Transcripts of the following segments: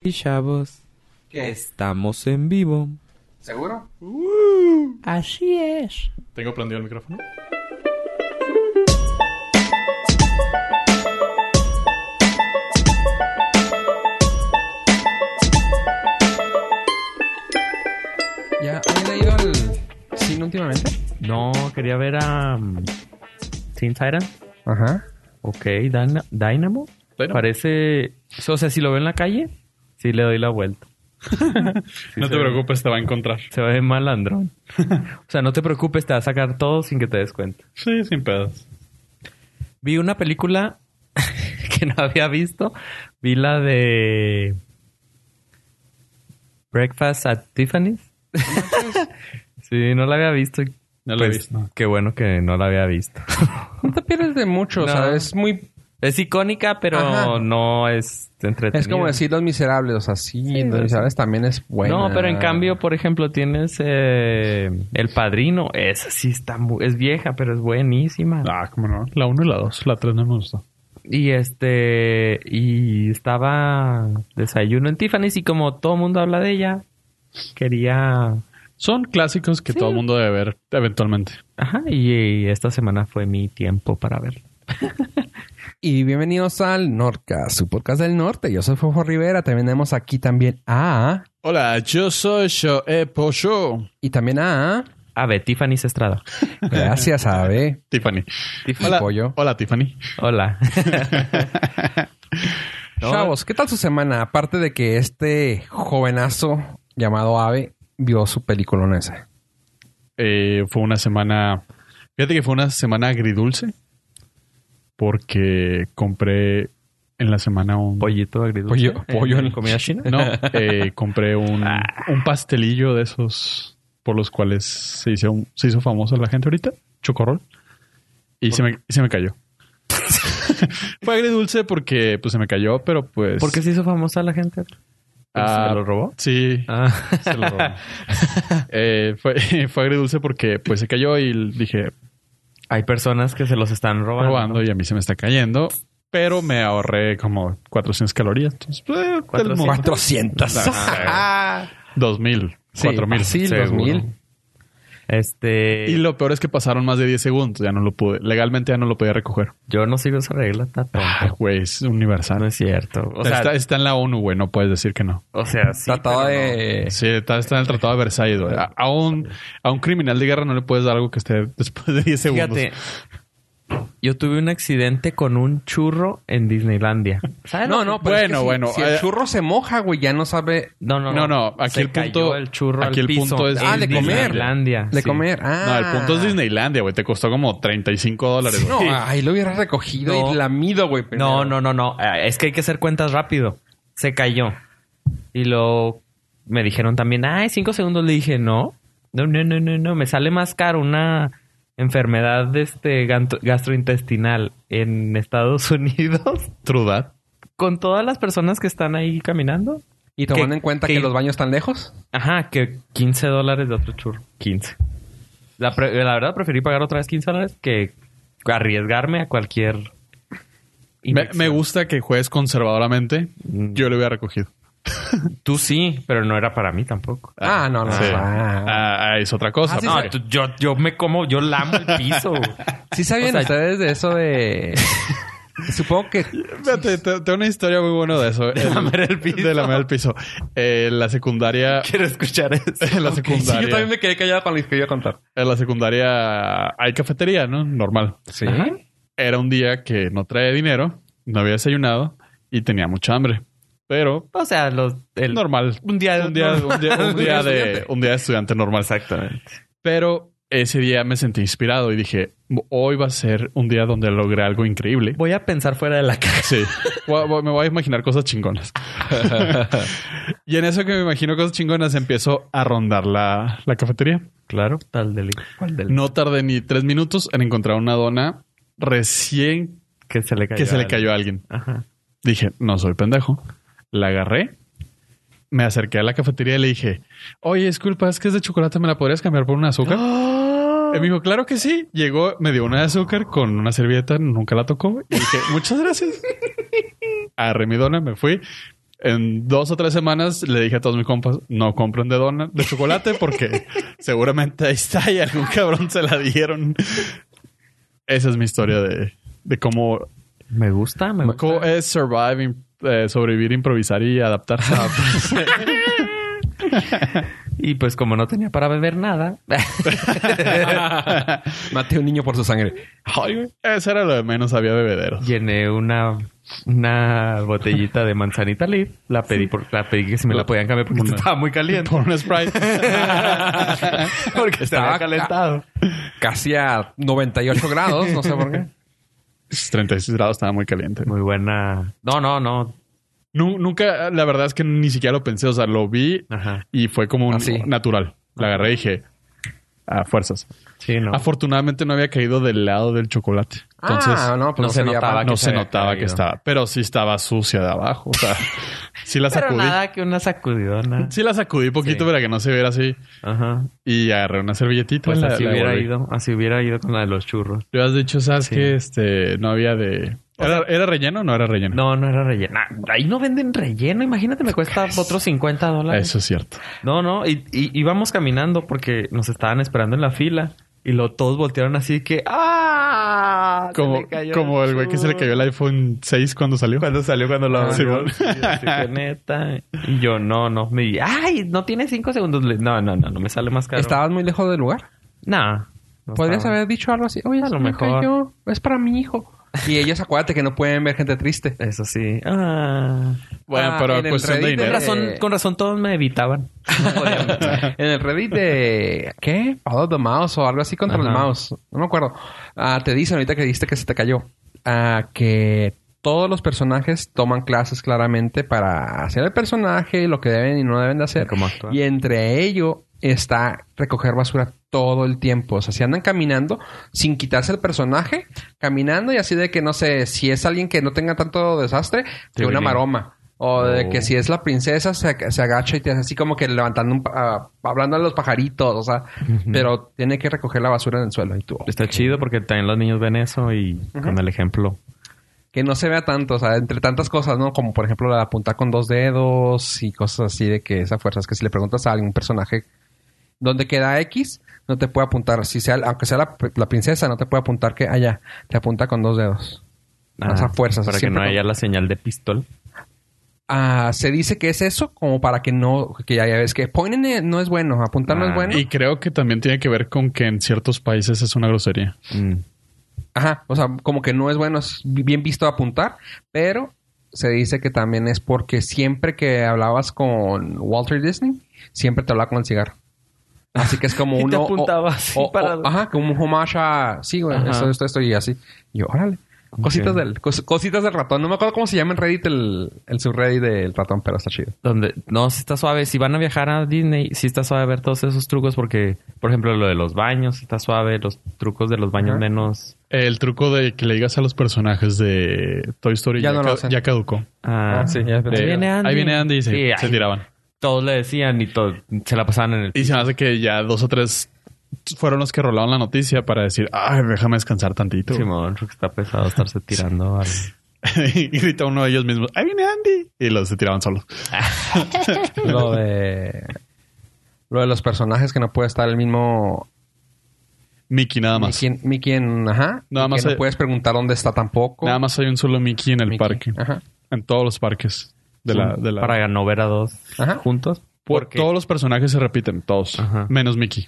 y chavos, ¿Qué? estamos en vivo. ¿Seguro? Así es. Tengo prendido el micrófono. ¿Ya habían ido al cine últimamente? No, quería ver a um, Teen Titan. Ajá. Ok, Dyna- Dynamo. Dynamo. Parece. O sea, si lo veo en la calle, sí le doy la vuelta. Sí no se te ve- preocupes, te va a encontrar. Se ve malandrón. o sea, no te preocupes, te va a sacar todo sin que te des cuenta. Sí, sin pedos. Vi una película que no había visto. Vi la de. Breakfast at Tiffany's. sí, no la había visto. y, No la he visto. Qué bueno que no la había visto. No te pierdes de mucho, o sea, No. es muy... Es icónica, pero Ajá. no es entretenida. Es como decir Los Miserables, o sea, sí, Los pero- Miserables también es bueno. No, pero en cambio, por ejemplo, tienes eh, El Padrino. Esa sí está mu- es vieja, pero es buenísima. Ah, cómo no. La 1 y la 2. La 3 no me gustó. Y este... Y estaba Desayuno en Tiffany's y como todo el mundo habla de ella, quería... Son clásicos que todo el mundo debe ver eventualmente. Ajá, y, y esta semana fue mi tiempo para verla. Y bienvenidos al Nordcast, su podcast del norte. Yo soy Fofo Rivera, también tenemos aquí también a... Hola, yo soy Shoe Pollo. Y también a... A ver, Tiffany's Estrada. Gracias, Abe. Tiffany. Tiffany Hola, Pollo. Hola, Tiffany. Hola. No. Chavos, ¿qué tal su semana? Aparte de que este jovenazo llamado Abe vio su película en ese. Eh, fue una semana. Fíjate que fue una semana agridulce. Porque compré en la semana un. Pollito agridulce. Pollo- pollo en- Ah. comida china. No, eh, compré un, un pastelillo de esos por los cuales se hizo, se hizo famoso la gente ahorita, chocorrol. Y se me, se me cayó. Fue agridulce porque pues, se me cayó, pero pues... ¿Por qué se hizo famosa la gente? ah, ¿Se lo robó? Sí, Ah. se lo robó. Eh, fue, fue agridulce porque pues se cayó y dije, Hay personas que se los están robando. robando y a mí se me está cayendo. Pero me ahorré como 400 calorías. Entonces, eh, del 400. mundo. 400. Dos mil, Sí, cuatro mil. fácil, seguro. dos mil. Este, Y lo peor es que pasaron más de 10 segundos. Ya no lo pude. Legalmente ya no lo podía recoger. yo no sigo esa regla, está tonta. Ah, güey, es universal. No es cierto. O sea, está, está en la ONU, güey. No puedes decir que no. o sea, sí, Tratado pero no. de... Sí, está, está en el Tratado de Versalles, güey. A, a un, a un criminal de guerra no le puedes dar algo que esté después de 10 segundos. Fíjate, yo tuve un accidente con un churro en Disneylandia. ¿Sabes No, lo que- no, pero es que Bueno, si- bueno, Si, eh, el churro se moja, güey, ya no sabe No, no, No, no, aquí Se el punto- cayó el churro al aquí el piso punto es- en Ah, de comer. Disneylandia, de sí. comer. Ah. No, el punto es Disneylandia, güey. Te costó como 35 dólares. No, ah, güey. ahí lo hubiera recogido No. y lamido, güey. primero. No, no, no, no. Ah, Es que hay que hacer cuentas rápido. Se cayó. Y lo me dijeron también, ay, cinco segundos. Le dije, no, no, no, no, no, no. Me sale más caro una enfermedad este ganto- gastrointestinal en Estados Unidos True that. con todas las personas que están ahí caminando. Y tomando que- en cuenta que, que- los baños están lejos. Ajá, que 15 dólares de otro churro. 15. La, pre- la verdad preferí pagar otra vez 15 dólares que arriesgarme a cualquier... Me, infección. me gusta que juegues conservadoramente. Mm. Yo lo hubiera recogido. Tú sí, pero no era para mí tampoco. Ah, no, no. Sí. Ah. Ah, ah, es otra cosa. Ah, sí, No, pues. tú- yo, yo me como, yo lamo el piso. güey. Sí sabían O sea, ustedes de eso de... Supongo que... Fíjate, te- tengo una historia muy buena de eso. El- lamer el piso. De lamer el piso. Eh, la secundaria. Quiero escuchar eso. En la secundaria. me quedé callado con lo que iba a contar. En la secundaria hay cafetería, ¿no? Normal. Sí. Ajá. Era un día que no traía dinero, no había desayunado y tenía mucha hambre. Pero O sea, los, el, normal. un día, Un día, un día, un día de, estudiante. un día de estudiante normal. Exactamente. Pero ese día me sentí inspirado y dije, hoy va a ser un día donde logré algo increíble. Voy a pensar fuera de la caja. Sí. Voy a- voy- me voy a imaginar cosas chingonas. y en eso que me imagino cosas chingonas, empiezo a rondar la, la cafetería. Claro, tal del... ¿Cuál del? No tardé ni tres minutos en encontrar una dona recién que se le cayó. que se le al- cayó a alguien. Ajá. Dije, no soy pendejo. La agarré, me acerqué a la cafetería y le dije, oye, disculpa, es que es de chocolate, ¿me la podrías cambiar por una azúcar? ¡Ah! Y me dijo, claro que sí. Llegó, me dio una de azúcar con una servilleta, nunca la tocó. Y dije, muchas gracias. Agarré mi dona, me fui. En dos o tres semanas le dije a todos mis compas, no compren de dona de chocolate porque seguramente ahí está y algún cabrón se la dieron. Esa es mi historia de, de cómo, Me gusta, me gusta. cómo es surviving, sobrevivir, improvisar y adaptarse. a- Y pues como no tenía para beber nada. Maté a un niño por su sangre. Ay, güey, Eso era lo de menos, había bebederos. llené una, una botellita de manzanita leaf. La pedí por, la pedí que si me la podían cambiar porque Una- estaba muy caliente. Por un Sprite. porque estaba Estaba calentado. Casi a 98 grados, no sé por qué. 36 grados estaba muy caliente. Muy buena. No, no, no. Nu- nunca, la verdad es que ni siquiera lo pensé. O sea, lo vi Ajá. y fue como un Ah, sí. natural. La agarré y dije, a fuerzas. Sí, no. Afortunadamente no había caído del lado del chocolate. Entonces ah, no, pues no no, se se veía notaba para- que no se había notaba caído. que estaba, pero sí estaba sucia de abajo. O sea, sí la Pero sacudí. nada que una sacudidona. Sí la sacudí poquito Sí. para que no se viera así. Ajá. Y agarré una servilletita. Pues la- así la hubiera envolví. ido. Así hubiera ido con la de los churros. Yo has dicho, ¿sabes Sí. que Este, no había de... ¿Era, era relleno o no era relleno? No, no era relleno. Ah, Ahí no venden relleno. Imagínate, me cuesta otros 50 dólares. Eso es cierto. No, no, y, y- íbamos caminando porque nos estaban esperando en la fila y lo todos voltearon así que ¡Ah! Se Como, le cayó como el güey que se le cayó el iPhone 6 cuando salió. cuando salió cuando lo Ah, sí, abrió. bueno. Sí, así que neta. Y yo no, no, me di- ay, no tiene cinco segundos. Le- No, no, no, no me sale más caro. Estabas muy lejos del lugar. Nah, no Podrías estaba. haber dicho algo así. Oye, A a lo lo mejor. Es para mi hijo. Y ellos acuérdate que no pueden ver gente triste. Eso sí. Ah. Bueno, Ah, pero en el cuestión de Reddit Con dinero. era- razón, con razón todos me evitaban. No podían. en el Reddit de... ¿Qué? Follow the mouse o algo así contra Ajá. el mouse. No me acuerdo. Ah, te dicen ahorita que dijiste que se te cayó. Ah, que todos los personajes toman clases claramente para hacer el personaje, lo que deben y no deben de hacer. Y cómo actuar. Y entre ello está recoger basura todo el tiempo. O sea, si andan caminando sin quitarse el personaje, caminando y así de que, no sé, si es alguien que no tenga tanto desastre, que una Trivilín. maroma. O de Oh. que si es la princesa, se, se agacha y te hace así como que levantando, un, pa- ah, hablando a los pajaritos, o sea, pero tiene que recoger la basura en el suelo. Y tú, Está chido porque también los niños ven eso y con el ejemplo. que no se vea tanto, o sea, entre tantas cosas, ¿no? Como por ejemplo la de apuntar con dos dedos y cosas así de que esa fuerza es que si le preguntas a algún personaje dónde queda X, no te puede apuntar, si sea, aunque sea la, la princesa, no te puede apuntar que allá, te apunta con dos dedos. Ah, Más a fuerzas, Para que siempre no con- haya la señal de pistol. Ah, se dice que es eso como para que no, que ya, ya ves que ponen eh, no es bueno, apuntar no Ah, es bueno. Y creo que también tiene que ver con que en ciertos países es una grosería. Mm. Ajá, o sea, como que no es bueno, es bien visto apuntar, pero se dice que también es porque siempre que hablabas con Walter Disney, siempre te hablaba con el cigarro. Así que es como Y te uno... o- apuntaba así parado. ajá, como un homage a... Sí, güey, Ajá. esto, esto, esto y así. Y yo, órale. Cositas, Ok. del, cos- cositas del ratón. No me acuerdo cómo se llama en Reddit el, el subreddit del ratón, pero está chido. Donde, no, si está suave. Si van a viajar a Disney, si está suave ver todos esos trucos porque, por ejemplo, lo de los baños está suave, los trucos de los baños Ajá. menos... El truco de que le digas a los personajes de Toy Story Ya ya, no lo ca- hacen. ya caducó. Ah, sí, ya Ahí pensé. viene Andy. Ahí viene Andy y se, Sí, se ahí- tiraban. Todos le decían y todo, se la pasaban en el... Y se me hace que ya dos o tres fueron los que rolaron la noticia para decir, ay, déjame descansar tantito. Simón, porque está pesado estarse tirando al... y grita uno de ellos mismos, ahí viene Andy. Y los se tiraban solos. lo de... Lo de los personajes que no puede estar el mismo... Mickey nada más. Mickey, en- Mickey en... Ajá. Nada y que más se- no puedes preguntar dónde está tampoco. Nada más hay un solo Mickey en el Mickey. parque. Ajá. En todos los parques. De la, de la- Para no ver a dos Ajá. juntos. por- porque- Todos los personajes se repiten, todos. Ajá. Menos Mickey.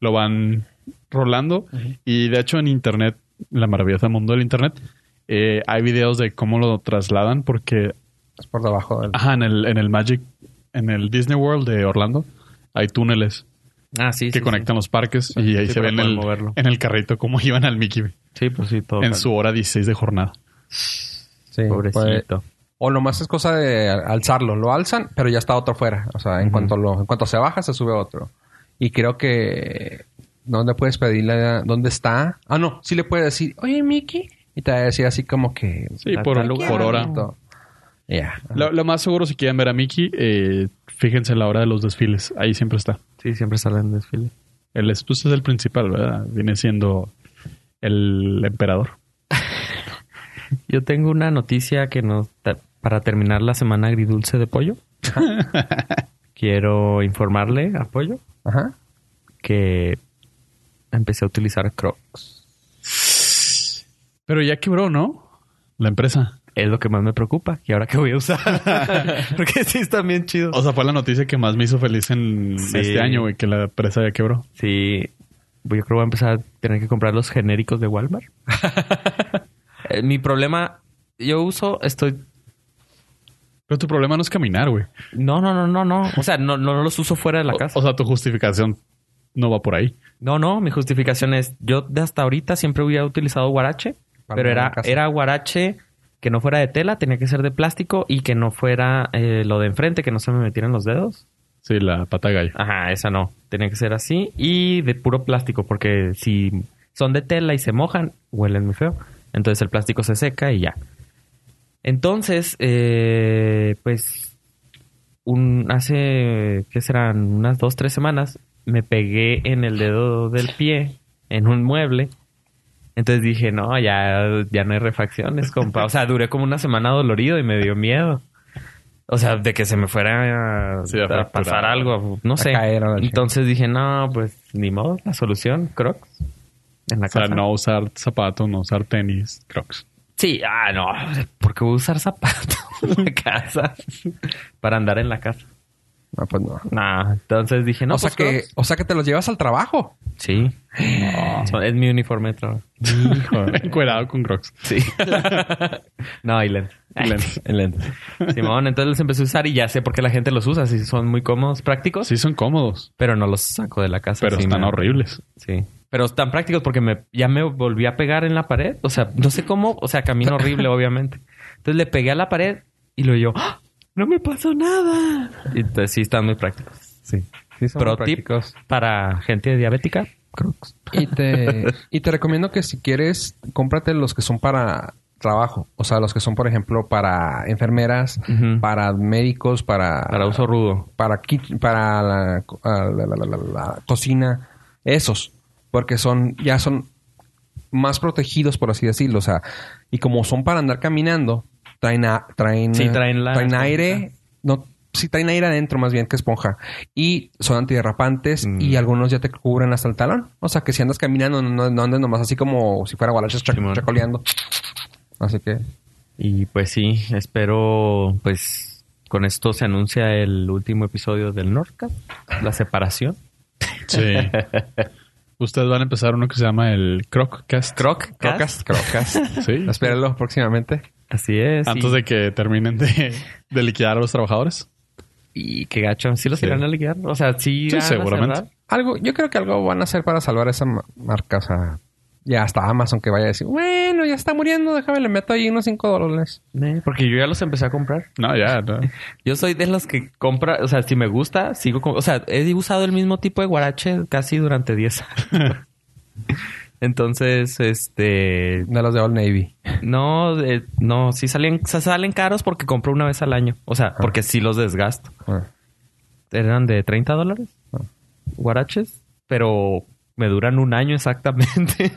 Lo van rolando. Y de hecho en internet, la maravillosa mundo del internet, eh, hay videos de cómo lo trasladan porque Es por debajo del... Ajá, en el, en el Magic, en el Disney World de Orlando, hay túneles Ah, sí, sí, que conectan los parques y ahí Sí, se para ven poder el- moverlo. en el carrito cómo iban al Mickey Sí, Sí, pues sí, todo. en su hora 16 de jornada. Sí, puede- Pobrecito. O lo más es cosa de alzarlo. Lo alzan, pero ya está otro fuera. O sea, en, cuanto, lo, en cuanto se baja, se sube otro. Y creo que... ¿Dónde puedes pedirle dónde está? Ah, no. Sí le puedes decir, oye, Mickey. Y te va a decir así como que... Sí, Hasta por, el lugar. por hora. "Tanto". Ya. Lo, lo más seguro, si quieren ver a Mickey, eh, fíjense en la hora de los desfiles. Ahí siempre está. Sí, siempre salen desfile. El pues, es el principal, ¿verdad? Viene siendo el emperador. Yo tengo una noticia que no... para terminar la semana agridulce de pollo, quiero informarle a Pollo Ajá. que empecé a utilizar Crocs. Pero ya quebró, ¿no? La empresa. Es lo que más me preocupa. ¿Y ahora qué voy a usar? Porque sí están bien chidos. O sea, fue la noticia que más me hizo feliz en Sí. este año, güey, que la empresa ya quebró. Sí, pues yo creo que voy a empezar a tener que comprar los genéricos de Walmart. Eh, mi problema, yo uso, estoy... Pero tu problema no es caminar, güey. No, no, no, no, no. O sea, no, no los uso fuera de la O, casa. o sea, tu justificación no va por ahí. No, no, mi justificación es, yo de hasta ahorita siempre hubiera utilizado guarache, Para andar pero en era, la casa. era guarache que no fuera de tela, tenía que ser de plástico y que no fuera eh, lo de enfrente, que no se me metieran los dedos. Sí, la pata gallo. Ajá, esa no, tenía que ser así y de puro plástico, porque si son de tela y se mojan, huelen muy feo. Entonces el plástico se seca y ya. Entonces, eh, pues, un, hace, ¿qué serán? Unas dos, tres semanas, me pegué en el dedo del pie, en un mueble. Entonces dije, no, ya, ya no hay refacciones, compa. O sea, duré como una semana dolorido y me dio miedo. O sea, de que se me fuera a, Sí, a a fracturar. pasar algo, no A sé. caer a la Entonces dije, no, pues ni modo, la solución, crocs. En la O sea, casa. no usar zapatos, no usar tenis, crocs. Sí, ah, no, porque voy a usar zapatos en la casa para andar en la casa. No, pues no. Nah, entonces dije, no, o, sea pues, que, Crocs. o sea que te los llevas al trabajo. Sí. So, Es mi uniforme de trabajo. Encuerado con crocs. Sí. no, y lentes. Y lentes. Y lentes. Simón, entonces los empecé a usar y ya sé por qué la gente los usa. Si son muy cómodos, prácticos, Sí, son cómodos, pero no los saco de la casa. pero sí están me- horribles. Sí. Pero están prácticos porque me, ya me volví a pegar en la pared. O sea, no sé cómo. O sea, camino horrible, obviamente. Entonces le pegué a la pared y lo yo, ¡Ah! no me pasó nada. Y entonces sí están muy prácticos. Sí. Sí, son Pro muy tip prácticos. para gente diabética. Crocs. Y te, Eh, y te recomiendo que si quieres, cómprate los que son para trabajo. O sea, los que son, por ejemplo, para enfermeras, Ujú. para médicos, para... Para uso rudo. Para, kit- para la, co- ah, la- la- la- la- la cocina. Esos. Porque son... Ya son más protegidos, por así decirlo. O sea, y como son para andar caminando, traen... a- traen Sí, traen la- aire... No, sí, traen aire adentro más bien que esponja. Y son antiderrapantes Mm. y algunos ya te cubren hasta el talón. O sea, que si andas caminando, no, no andes nomás así como si fuera guaraches chac- Simón. chacoleando. Así que... Y pues sí, espero, pues con esto se anuncia el último episodio del Norca, la separación. Sí. Ustedes van a empezar uno que se llama el Croccast. Croc, Crocas, Cast. crocas. Sí. Espéralo próximamente. Así es. Antes y, de que terminen de, de liquidar a los trabajadores. y qué gacho, sí los Sí. irán a liquidar. O sea, sí, Sí, irán a seguramente. cerrar. Algo, yo creo que algo van a hacer para salvar esa ma- marca. O sea, ya hasta Amazon que vaya a decir, bueno, ya está muriendo, déjame le meto ahí unos 5 dólares. Eh, Porque yo ya los empecé a comprar. No, ya. no. Yo soy de los que compra, o sea, si me gusta, sigo con, o sea, he usado el mismo tipo de guarache casi durante 10 años. Entonces, este, De los de Old Navy. no, eh, no, sí salen, salen caros porque compro una vez al año. O sea, porque sí los desgasto. Ah, eran de 30 dólares. Ah. Guaraches. Pero me duran un año exactamente.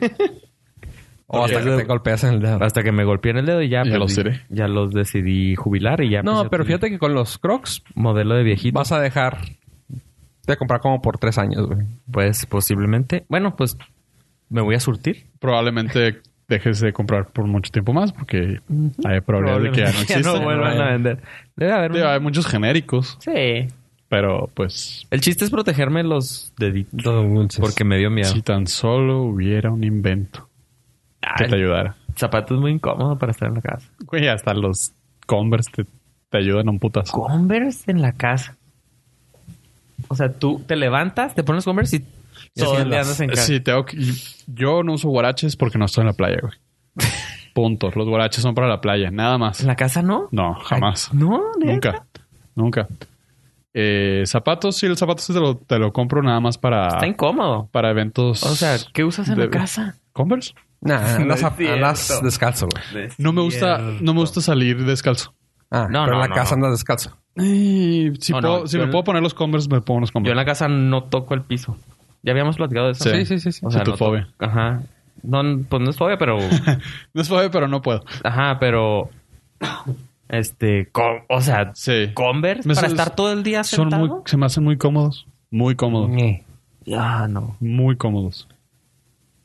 O hasta que te golpeas en el dedo. Hasta que me golpeé en el dedo y ya. Ya perdí. los tiré. Ya los decidí jubilar y ya. No, empecé a pero tener fíjate que con los Crocs Modelo de viejito. vas a dejar de comprar como por 3 años, güey. Pues posiblemente. Bueno, pues me voy a surtir. Probablemente dejes de comprar por mucho tiempo más porque hay probabilidad de que ya Probablemente no exista. vuelvan a hay, vender. Debe haber. Digo, ah. un- hay muchos genéricos, Sí. pero pues El chiste es protegerme los deditos. dulces. Porque me dio miedo. si tan solo hubiera un invento que Ay, te ayudara. zapato es muy incómodo para estar en la casa. Güey, hasta los Converse te, te ayudan a un putazo. Converse en la casa. O sea, tú te levantas, te pones Converse y Y así todo el día andas. andas en casa. Sí, tengo que- Yo no uso guaraches porque no estoy en la playa, güey. Punto. Los guaraches son para la playa, nada más. ¿En la casa no? No, jamás. No, ¿neta? Nunca. Nunca. Eh, zapatos, sí, los zapatos sí te lo, te lo compro nada más para, Está incómodo. para eventos. O sea, ¿qué usas en de- la casa? Converse. Nah, andas, No a- es cierto. andas descalzo, güey. No me gusta, no me gusta salir descalzo. Ah, No, pero no, en la no, casa no. andas descalzo. Y si No, puedo- no, si yo me en- puedo poner los Converse, me pongo los Yo Converse. en la casa no toco el piso. Ya habíamos platicado de eso. Sí. sí, sí. O sea, Sí, tu no to- fobia. Ajá. No, pues no es fobia, pero... No es suave, pero no puedo. Ajá, pero... Este, con- o sea, Sí. Converse Me para son- estar todo el día Son muy, sentado. Mm. se me hacen muy cómodos. Muy cómodos. Eh. Ah, no. Muy cómodos.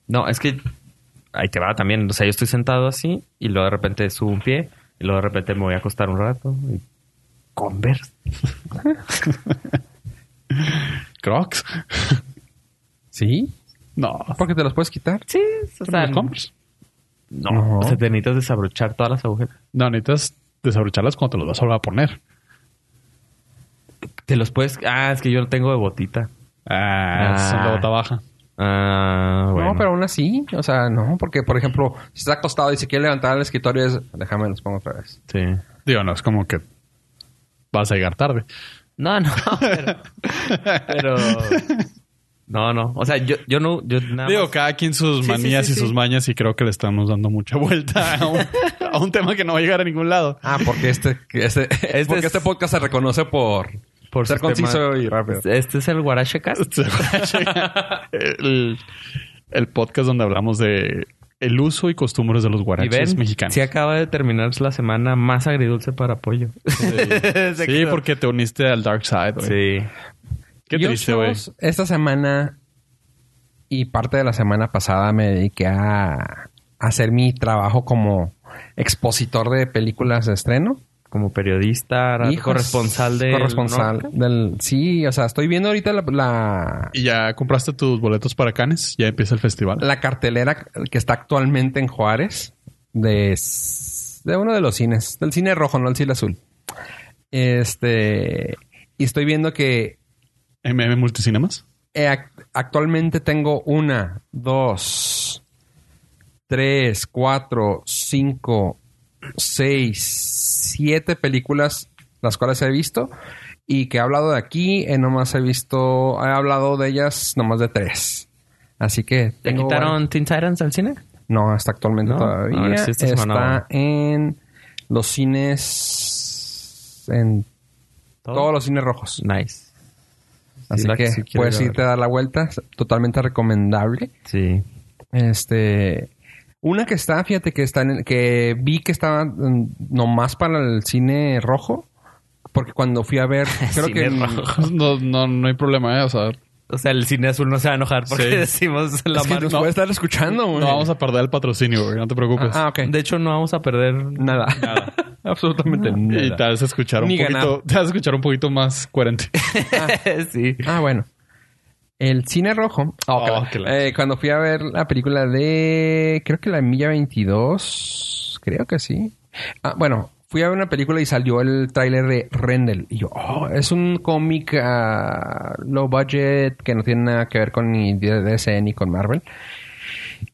No, es que ahí te va también. O sea, yo estoy sentado así y luego de repente subo un pie y luego de repente me voy a acostar un rato. Y... Converse. Crocs. ¿Sí? No. Porque te los puedes quitar. Sí, o sea, ¿Los compras? no. No. O sea, te necesitas desabrochar todas las agujetas. No, necesitas desabrocharlas cuando te los vas a volver a poner. Te los puedes. Ah, es que yo no tengo de botita. Ah, Ah. son de bota baja. Ah, bueno. No, pero aún así. O sea, no. Porque, por ejemplo, si está acostado y se quiere levantar al escritorio, es... Déjame, los pongo otra vez. Sí. Digo, no, es como que vas a llegar tarde. No, no, pero. pero- no, no. O sea, yo, yo no. Yo nada Digo, más- cada quien sus Sí, manías sí, sí, y sus sí. mañas y creo que le estamos dando mucha vuelta a un, a un tema que no va a llegar a ningún lado. Ah, porque este... que este, Este porque es- este podcast se reconoce por... Por ser sistema- conciso y rápido. Este es el Guarache Cast. el, el podcast donde hablamos de el uso y costumbres de los Y guaraches ven, mexicanos. sí acaba de terminar la semana más agridulce para pollo. Sí, porque te uniste al Dark Side, güey. Sí. Qué Yo triste, güey. shows Esta semana y parte de la semana pasada me dediqué a, a hacer mi trabajo como expositor de películas de estreno. Como periodista, ahora Hijos, corresponsal de... Corresponsal del... Sí, o sea, estoy viendo ahorita la, la, ¿Y ya compraste tus boletos para Canes? ¿Ya empieza el festival? la cartelera que está actualmente en Juárez de, de uno de los cines, del cine rojo, no el cine azul. Este... Y estoy viendo que ¿MM Multicinemas? Eh, act- actualmente tengo una, dos, tres, cuatro, cinco, seis, siete películas las cuales he visto y que he hablado de aquí, eh, nomás he visto, he hablado de ellas nomás de tres. Así que ¿Te tengo quitaron Teen Titans al cine? varias- No, hasta actualmente No, todavía. a ver si esta semana Está va. en los cines, en todos los cines rojos. Nice. Así la- que sí quiero puedes ir a irte a dar la vuelta, es totalmente recomendable. Sí. Este, una que está, fíjate que está en- que vi que estaba mm, nomás para el cine rojo, porque cuando fui a ver, creo Cine que rojo. No, no, no hay problema, ¿eh? O sea, O sea, el cine azul no se va a enojar porque Sí. decimos la es que marca. nos puede estar escuchando, güey. no vamos a perder el patrocinio, güey. No te preocupes. pues. Ah, ah, ok. De hecho, no vamos a perder... nada. Absolutamente Y te nada. vas a escuchar un Ni poquito... ganar. Te vas a escuchar un poquito más coherente. sí. Ah, bueno. El cine rojo. Ah, ok. Oh, qué la- Eh, cuando fui a ver la película de. Creo que la Milla 22. Creo que sí. Ah, bueno, fui a ver una película y salió el tráiler de Rendell. Y yo, oh, es un cómic ah, low budget que no tiene nada que ver con ni DC ni con Marvel.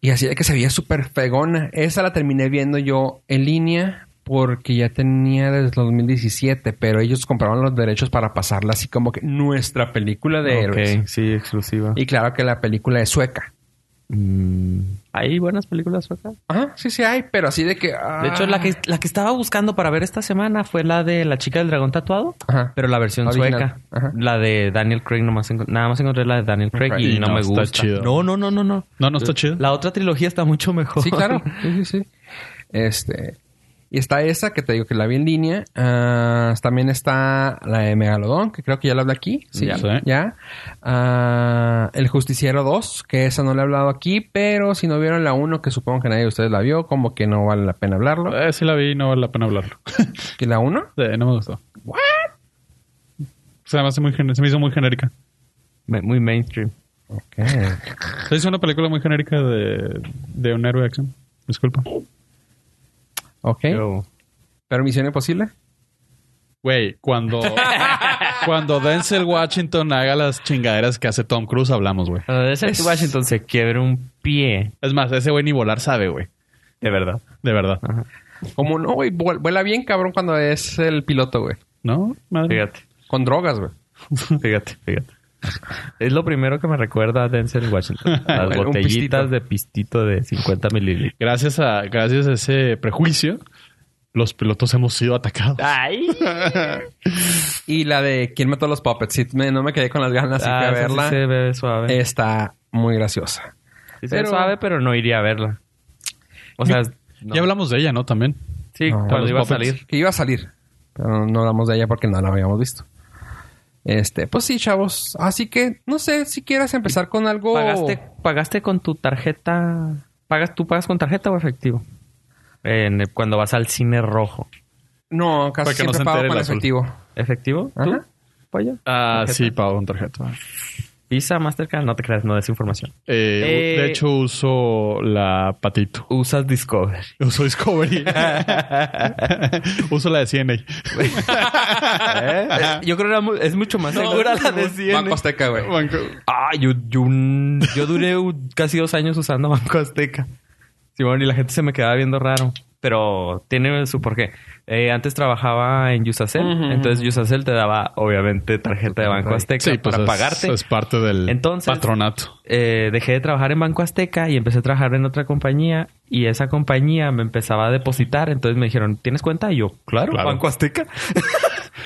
Y así de que se veía súper fegona. Esa la terminé viendo yo en línea porque ya tenía desde el 2017, pero ellos compraron los derechos para pasarla así como que nuestra película de héroes. Ok, sí, exclusiva. Y claro que la película es sueca. Mm, ¿Hay buenas películas suecas? Ajá, sí, sí hay, pero así de que... ah. De hecho, la que, la que estaba buscando para ver esta semana fue la de La chica del dragón tatuado, Ajá. pero la versión Original. sueca. Ajá. La de Daniel Craig, nomás enco- nada más encontré la de Daniel Craig Craig. y, Y no, no, me está gusta. chido. No, no, no, no, no. No, no está chido. La otra trilogía está mucho mejor. Sí, claro. Sí, sí, sí. Este... Y está esa que te digo que la vi en línea. Ah, también está la de Megalodón, que creo que ya la hablé aquí. Sí, Ya. ya. Sí. Ah, el Justiciero 2, que esa no la he hablado aquí, pero si no vieron la 1, que supongo que nadie de ustedes la vio, como que no vale la pena hablarlo. Eh, sí la vi, no vale la pena hablarlo. ¿Que la 1? Sí, no me gustó. Se me, hace muy gener- se me hizo muy genérica. Me- Muy ¿Eh? mainstream. Ok. Se hizo una película muy genérica de, de un héroe de acción. Disculpa. Ok. Yo- ¿Pero Misión Imposible? Güey, cuando, cuando Denzel Washington haga las chingaderas que hace Tom Cruise, hablamos, güey. Cuando Denzel Es- Washington se quiebre un pie. Es más, ese güey ni volar sabe, güey. De verdad. De verdad. Como no, güey, vuel- vuela bien cabrón cuando es el piloto, güey. ¿No? Madre. Fíjate, Con drogas, güey. fíjate, fíjate. Es lo primero que me recuerda a Denzel Washington. Bueno, Las un pistito. botellitas de pistito de 50 mililitros. Gracias a, gracias a ese prejuicio, los pilotos hemos sido atacados. ¡Ay! Y la de ¿Quién mató a los puppets? Sí, me- no me quedé con las ganas de Ah, esa sí verla. se ve suave. Está muy graciosa. Sí se ve pero- suave, pero no iría a verla. O sea, Ya hablamos de ella, ¿no? También. Sí, No. cuando Los iba a Muppets. salir. que iba a salir. Pero no hablamos de ella porque no la habíamos visto. Este, pues sí, chavos. Así que, no sé, si quieres empezar con algo. ¿Pagaste, ¿Pagaste con tu tarjeta? ¿Pagas, ¿Tú pagas con tarjeta o efectivo? En- cuando vas al cine rojo. No, Para casi que no siempre se pago entere con el azul. efectivo. ¿Efectivo? ¿Tú? Ajá. Pollo. Ah, ¿Tarjeta? sí, pago con tarjeta. Visa, Mastercard, no te creas, no des información. Eh, Eh. De hecho, uso la patito. Usas Discover. Uso Discovery. uso la de CNA. Eh, Yo creo que era mu- es mucho más segura la de Banco 100. Azteca, güey. Banco- Ah, yo, yo, un- yo duré un- casi dos años usando Banco Azteca. Sí, bueno, y la gente se me quedaba viendo raro. Pero tiene su porqué. Eh, antes trabajaba en Yusacel. Ujú, Entonces Yusacel te daba, obviamente, tarjeta de Banco Azteca Sí, pues para es- pagarte. Es parte del Entonces- patronato. Eh, dejé de trabajar en Banco Azteca y empecé a trabajar en otra compañía. Y esa compañía me empezaba a depositar. Entonces me dijeron, ¿tienes cuenta? Y yo, claro, Claro. Banco Azteca.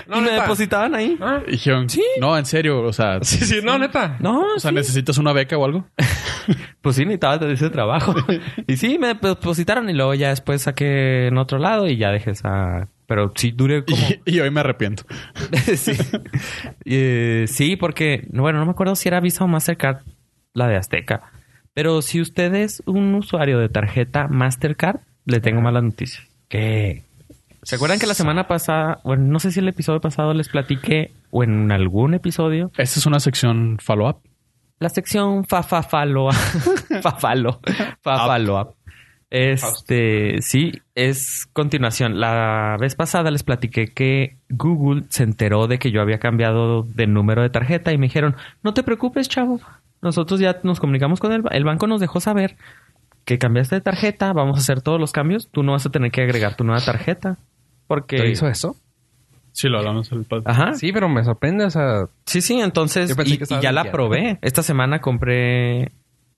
No, y me neta. depositaban ahí. Ah, Dijeron, no, en serio, o sea, Sí, sí, no, neta. No, o sea, sí. ¿necesitas una beca o algo? Pues sí, necesitaba de ese trabajo. y sí, me depositaron y luego ya después saqué en otro lado y ya dejé esa... Pero sí, duré como... Y, y hoy me arrepiento. sí. Eh, sí, porque... Bueno, no me acuerdo si era Visa o Mastercard, la de Azteca. Pero si usted es un usuario de tarjeta Mastercard, le tengo malas noticias. ¿Qué? ¿Se acuerdan que la semana pasada... Bueno, no sé si el episodio pasado les platiqué o en algún episodio Esta es una sección follow-up. la sección fafafaloa. Fafalo. Fafaloa. Este, sí, es continuación. La vez pasada les platiqué que Google se enteró de que yo había cambiado de número de tarjeta y me dijeron, no te preocupes, chavo. Nosotros ya nos comunicamos con el, ba- el banco, nos dejó saber que cambiaste de tarjeta, vamos a hacer todos los cambios. Tú no vas a tener que agregar tu nueva tarjeta. Porque... ¿Te hizo eso? Sí, lo hablamos el Ajá. Sí, pero me sorprende, o sea. Sí, sí, entonces Yo pensé y, que y estabas ya la limpiando. probé. Esta semana compré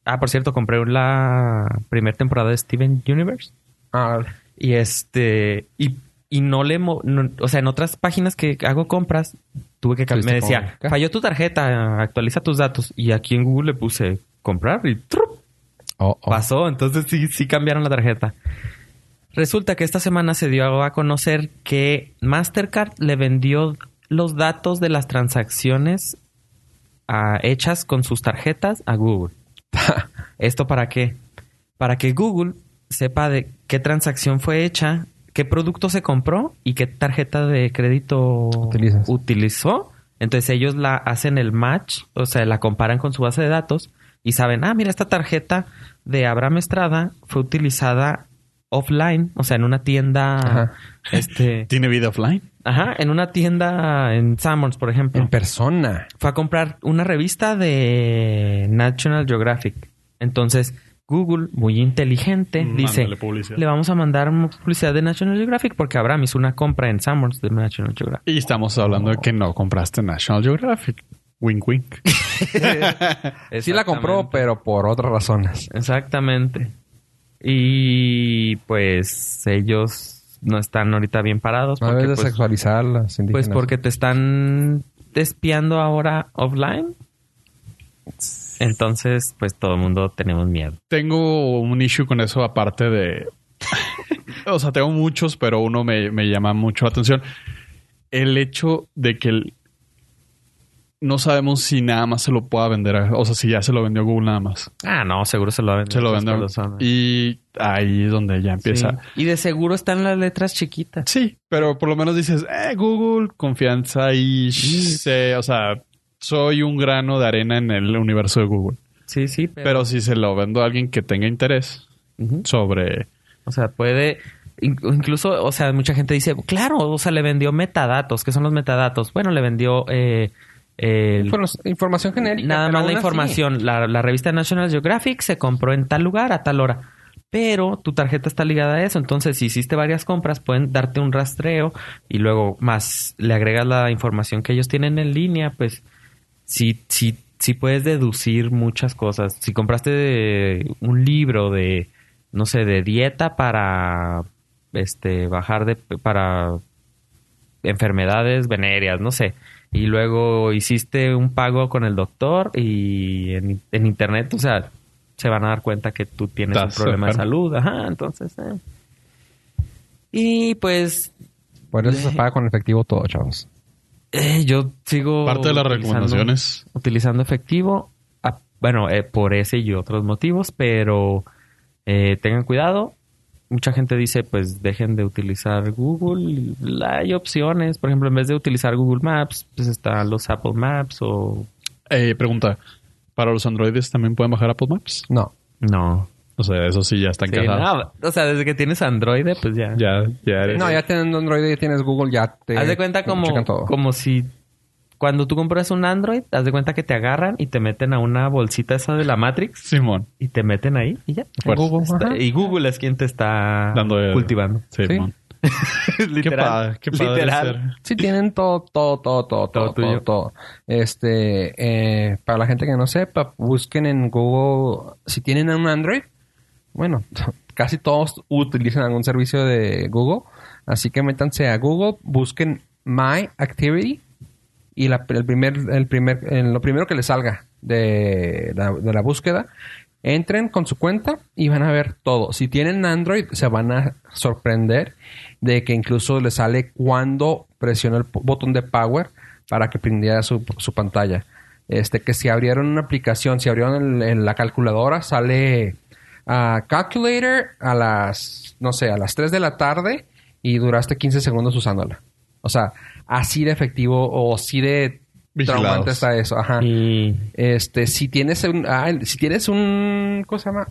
Ah, por cierto, compré la primera temporada de Steven Universe Ah, y este y, y no le mo- no- o sea, en otras páginas que hago compras tuve que cambiar. Tuviste Me decía, que modificar. "Falló tu tarjeta, actualiza tus datos." Y aquí en Google le puse comprar y ¡trup! oh, oh. pasó, entonces sí sí cambiaron la tarjeta. Resulta que esta semana se dio a conocer que Mastercard le vendió los datos de las transacciones ah, hechas con sus tarjetas a Google. ¿Esto para qué? Para que Google sepa de qué transacción fue hecha, qué producto se compró y qué tarjeta de crédito Utilizas. utilizó. Entonces ellos la hacen el match, o sea, la comparan con su base de datos y saben, ah, mira, esta tarjeta de Abraham Estrada fue utilizada offline, o sea, en una tienda, Ajá. este, ¿Tiene vida offline? ajá, en una tienda en Summers, por ejemplo En persona. fue a comprar una revista de National Geographic. Entonces, Google, muy inteligente, Mm, Mándale dice, publicidad. le vamos a mandar una publicidad de National Geographic porque Abraham hizo una compra en Summers de National Geographic. Y estamos hablando de que no compraste National Geographic. Wink, wink. Sí la compró, pero por otras razones. Exactamente. Y pues ellos no están ahorita bien parados. No porque, debes de pues, sexualizar a las indígenas. pues porque te están espiando ahora offline. Entonces, pues todo el mundo tenemos miedo. Tengo un issue con eso aparte de... o sea, tengo muchos, pero uno me, me llama mucho la atención. El hecho de que el- no sabemos si nada más se lo pueda vender. a- O sea, si ya se lo vendió Google nada más. Ah, no, seguro se lo venden. Se lo vendió. ¿eh? Y ahí es donde ya empieza... Y de seguro están las letras chiquitas. Sí, pero por lo menos dices, eh, Google, confianza y... sé, o sea, soy un grano de arena en el universo de Google. Sí, sí, Pero, si se lo vendo a alguien que tenga interés Ujú. sobre... O sea, puede... in- Incluso, o sea, mucha gente dice, claro, o sea, le vendió metadatos. ¿Qué son los metadatos? Bueno, le vendió... eh, el- Informa- información genérica. nada pero más la aún así. información. La, la revista National Geographic se compró en tal lugar a tal hora. Pero tu tarjeta está ligada a eso. Entonces, si hiciste varias compras, pueden darte un rastreo y luego más le agregas la información que ellos tienen en línea, pues sí, sí, sí puedes deducir muchas cosas. Si compraste de- un libro de, no sé, de dieta para este bajar de para enfermedades venéreas, no sé. Y luego hiciste un pago con el doctor y en, en internet, o sea, se van a dar cuenta que tú tienes Estás un problema de enfermo. salud. Ajá, entonces. eh. Y pues Por eso se paga con efectivo todo, chavos. eh, yo sigo... Parte de las utilizando- recomendaciones. Utilizando efectivo, a- bueno, eh, por ese y otros motivos, pero eh, tengan cuidado. Mucha gente dice, pues dejen de utilizar Google. Hay opciones, por ejemplo, en vez de utilizar Google Maps, pues están los Apple Maps o... Eh, pregunta. ¿Para los androides también pueden bajar Apple Maps? No. No. O sea, eso sí ya están Sí, casados. no, O sea, desde que tienes Android, pues ya. Ya, ya eres. No, ya teniendo Android, ya tienes Google, ya te. Haz de cuenta como, checan todo. como si cuando tú compras un Android, haz de cuenta que te agarran y te meten a una bolsita esa de la Matrix Simón. y te meten ahí y ya. Fuerza. Está- y Google es quien te está Dando el- Ah, cultivando. Simón. Qué padre, qué padre Literal. ser. Sí, tienen todo, todo, todo, todo, todo, Todo todo, tuyo. todo. Este, eh, para la gente que no sepa, busquen en Google, si tienen un Android, bueno, casi todos utilizan algún servicio de Google, así que métanse a Google, busquen My Activity y la- el primer, el primer, el- lo primero que les salga de la, de la búsqueda, entren con su cuenta y van a ver todo. Si tienen Android, se van a sorprender de que incluso les sale cuando presiona el po- botón de power para que prendiera su, su pantalla. Este, que si abrieron una aplicación, si abrieron el- el- la calculadora, sale a calculator a las, no sé, a las 3 de la tarde y duraste 15 segundos usándola. O sea, así de efectivo o así de Vigilados. traumante está eso. Ajá. Y Este, si tienes un, ah, el- si tienes un, ¿cómo se llama?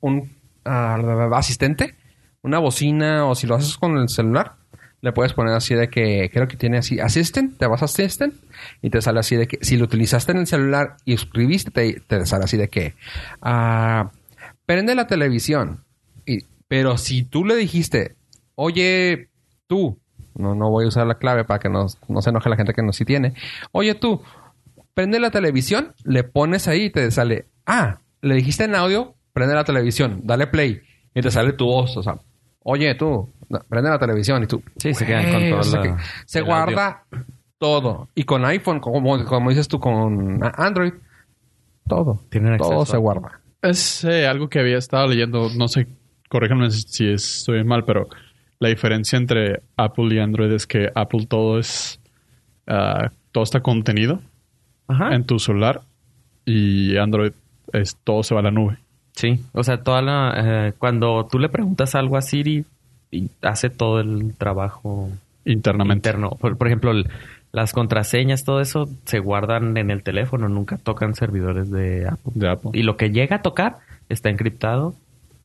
Un ah, asistente, una bocina o si lo haces con el celular, le puedes poner así de que, creo que tiene así, assistant, te vas a assistant y te sale así de que, si lo utilizaste en el celular y escribiste, te, te sale así de que, ah, prende la televisión. Y- pero si tú le dijiste, oye, tú, no, no voy a usar la clave para que no, no se enoje la gente que no sí tiene, oye tú, prende la televisión, le pones ahí y te sale, ah, le dijiste en audio, prende la televisión, dale play y te sale tu voz, o sea, oye tú, no, prende la televisión y tú. Sí, se quedan con "Güey", todo o sea la- que Se el audio. guarda todo. Y con iPhone, como, como dices tú, con Android, todo. Tienen todo acceso. se guarda. Es eh, algo que había estado leyendo, no sé, corríjanme si- si estoy mal, pero la diferencia entre Apple y Android es que Apple todo es, ah, todo está contenido Ajá. en tu celular y Android es todo se va a la nube. Sí, o sea, toda la, eh, cuando tú le preguntas algo a Siri, y hace todo el trabajo Internamente. interno. Por, por ejemplo, el- las contraseñas, todo eso se guardan en el teléfono, nunca tocan servidores de Apple. de Apple. Y lo que llega a tocar está encriptado.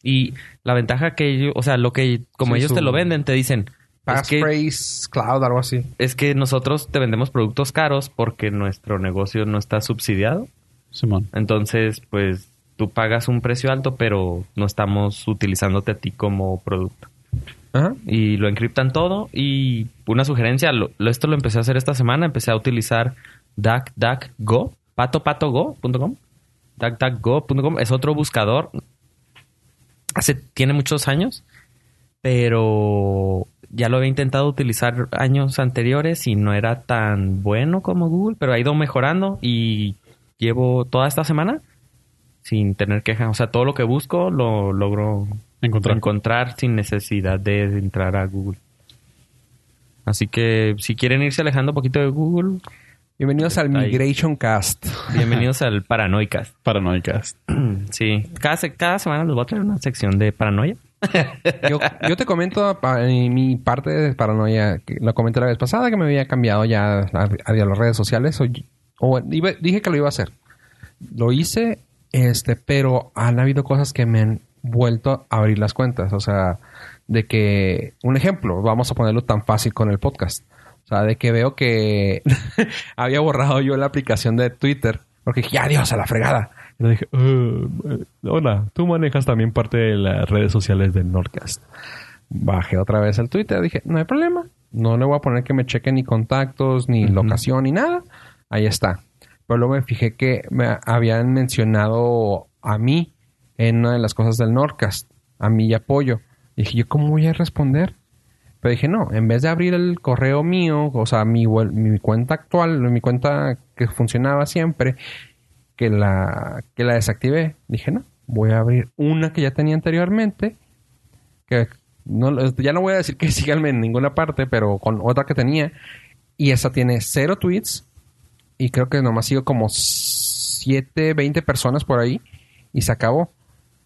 Y la ventaja que ellos, o sea, lo que como Sí, ellos su- te lo venden, te dicen, es que, Passphrase, cloud, algo así. es que nosotros te vendemos productos caros porque nuestro negocio no está subsidiado. Simón. Entonces, pues tú pagas un precio alto, pero no estamos utilizándote a ti como producto. Ajá. Y lo encriptan todo. Y una sugerencia, lo- lo- esto lo empecé a hacer esta semana, empecé a utilizar DuckDuckGo, patopatogo.com. DuckDuckGo.com es otro buscador. Hace, tiene muchos años, pero ya lo había intentado utilizar años anteriores y no era tan bueno como Google, pero ha ido mejorando y llevo toda esta semana sin tener quejas. O sea, todo lo que busco lo logro Encontrar. encontrar sin necesidad de entrar a Google. Así que si quieren irse alejando un poquito de Google, Bienvenidos al Está ahí. Migration Cast. bienvenidos al Paranoicast. Paranoicas. Sí, cada, se- cada semana les voy a traer una sección de paranoia. Yo, yo te comento pa- en mi parte de paranoia, que lo comenté la vez pasada, que me había cambiado ya a, a las redes sociales. O, o iba- dije que lo iba a hacer. Lo hice, este, pero han habido cosas que me han vuelto a abrir las cuentas. O sea, de que, un ejemplo, vamos a ponerlo tan fácil con el podcast. O sea, de que veo que había borrado yo la aplicación de Twitter, porque dije, ya Dios, a la fregada. Y le dije, "Eh, eh, hola, tú manejas también parte de las redes sociales del Nordcast. bajé otra vez el Twitter. Dije, no hay problema. No le voy a poner que me cheque ni contactos, ni locación, ni nada. Ahí está. Pero luego me fijé que me habían mencionado a mí en una de las cosas del Nordcast, a mí y apoyo. Dije, ¿yo cómo voy a responder? Pero dije, no, en vez de abrir el correo mío, o sea, mi, wel- mi cuenta actual, mi cuenta que funcionaba siempre, que la, que la desactivé. Dije, no, voy a abrir una que ya tenía anteriormente, que No, lo- ya no voy a decir que síganme en ninguna parte, pero con otra que tenía. Y esa tiene cero tweets. Y creo que nomás sigo como 7, 20 personas por ahí. Y se acabó.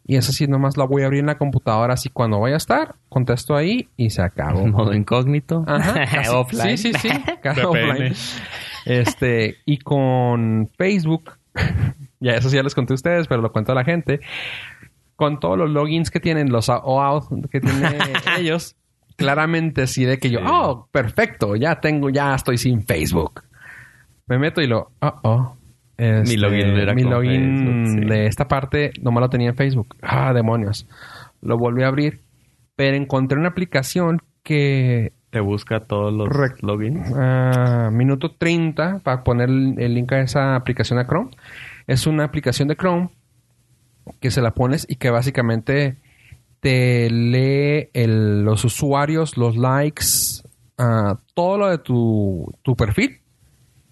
Y esa sí nomás la voy a abrir en la computadora. Así cuando vaya a estar, contesto ahí y se Oh. acabó. Modo incógnito. Ajá, casi. Offline. Sí, sí, sí. Casi VPN. offline. Este, y con Facebook, ya eso sí ya les conté a ustedes, pero lo cuento a la gente. Con todos los logins que tienen, los OAuth que tienen ellos, claramente sí de que yo, oh, perfecto, ya tengo, ya estoy sin Facebook. Me meto y lo, oh, oh. Este, login era mi con login Facebook, sí. de esta parte nomás lo tenía en Facebook. Ah, demonios. Lo volví a abrir, pero encontré una aplicación que Te busca todos los Correcto. logins. Ah, minuto 30 para poner el, el link a esa aplicación a Chrome. Es una aplicación de Chrome que se la pones y que básicamente te lee el- los usuarios, los likes, ah, todo lo de tu, tu perfil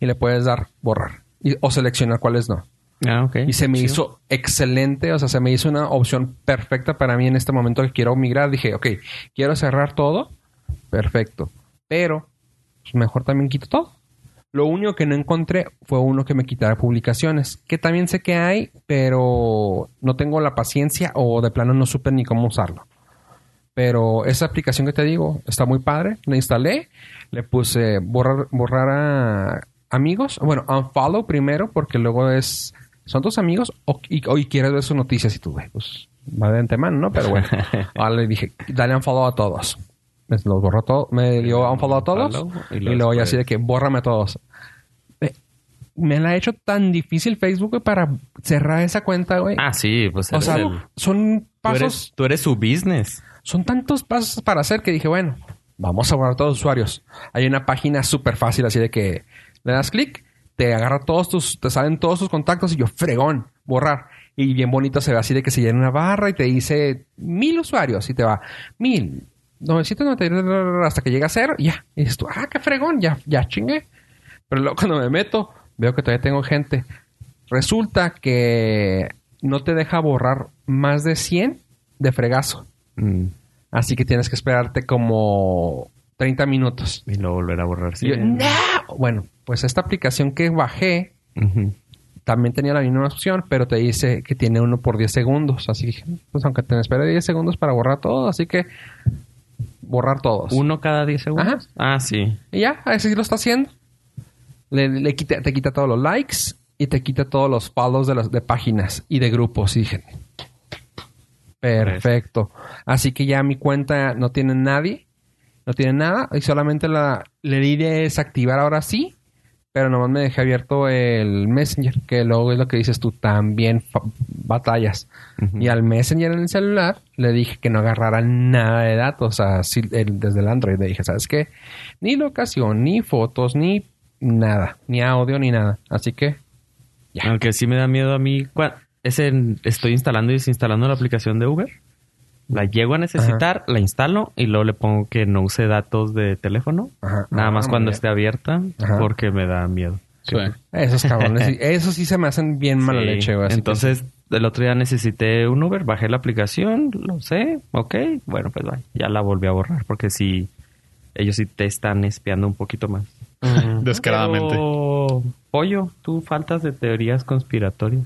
y le puedes dar borrar y- o seleccionar cuáles no. Ah, ok. Y se me hizo excelente, o sea, se me hizo una opción perfecta para mí en este momento que quiero migrar. Dije, ok, quiero cerrar todo, perfecto. Pero pues, mejor también quito todo. Lo único que no encontré fue uno que me quitara publicaciones, que también sé que hay, pero no tengo la paciencia o de plano no supe ni cómo usarlo. Pero esa aplicación que te digo está muy padre. La instalé, le puse borrar, borrar a amigos. Bueno, unfollow primero porque luego es... ¿Son tus amigos? O, y, o- y quieres ver sus noticias y tú, güey, pues va de antemano, ¿no? Pero bueno. Ahora le dije, dale unfollow a todos. Me los borró todo, me dio unfollow a todos. Unfollow y y luego luego ya después- pues, así de que, bórrame a todos. Eh, Me la ha hecho tan difícil Facebook, güey, para cerrar esa cuenta, güey. Ah, sí, pues. o eres sea, el- son tú, pasos eres, tú eres su business. son tantos pasos para hacer que dije, bueno, vamos a borrar todos los usuarios. Hay una página súper fácil, así de que le das clic, te agarra todos tus, te salen todos tus contactos y yo, fregón, borrar. Y bien bonito se ve así de que se llena una barra y te dice mil usuarios y te va mil, 999 hasta que llega a cero y ya. Y dices tú, ah, qué fregón, ya, ya chingué. Pero luego cuando me meto, veo que todavía tengo gente. Resulta que no te deja borrar más de 100 de fregazo. Mm. Así que tienes que esperarte como 30 minutos. Y luego volver a borrar. Y yo, "No". Bueno, pues esta aplicación que bajé también tenía la misma opción, pero te dice que tiene uno por 10 segundos. Así que dije, pues aunque te espere 10 segundos para borrar todo, así que borrar todos. Uno cada 10 segundos. Ah, sí. Y ya, así lo está haciendo. Le, le quita, te quita todos los likes y te quita todos los follows de, las, de páginas y de grupos. Y dije, perfecto. Así que ya mi cuenta no tiene nadie, no tiene nada. Y solamente la, le di de desactivar ahora sí. Pero nomás me dejé abierto el Messenger, que luego es lo que dices tú, también fa- batallas. Y al Messenger en el celular le dije que no agarrara nada de datos, o sea, sí, el- desde el Android le dije, ¿sabes qué? Ni locación, ni fotos, ni nada, ni audio, ni nada. Así que, Ya. Aunque sí me da miedo a mí. cua- Es en- estoy instalando y desinstalando la aplicación de Uber. La llego a necesitar, la instalo y luego le pongo que no use datos de teléfono. Ajá. Nada Ah, más muy cuando bien. esté abierta Ajá. porque me da miedo. Sí. esos cabrones, sí, esos sí se me hacen bien mala Sí. leche, güey. así que- Entonces, el otro día necesité un Uber, bajé la aplicación, lo sé, ok, bueno, pues va, ya la volví a borrar porque sí, ellos sí te están espiando un poquito más. Descaradamente. Pero, pollo, tú faltas de teorías conspiratorias.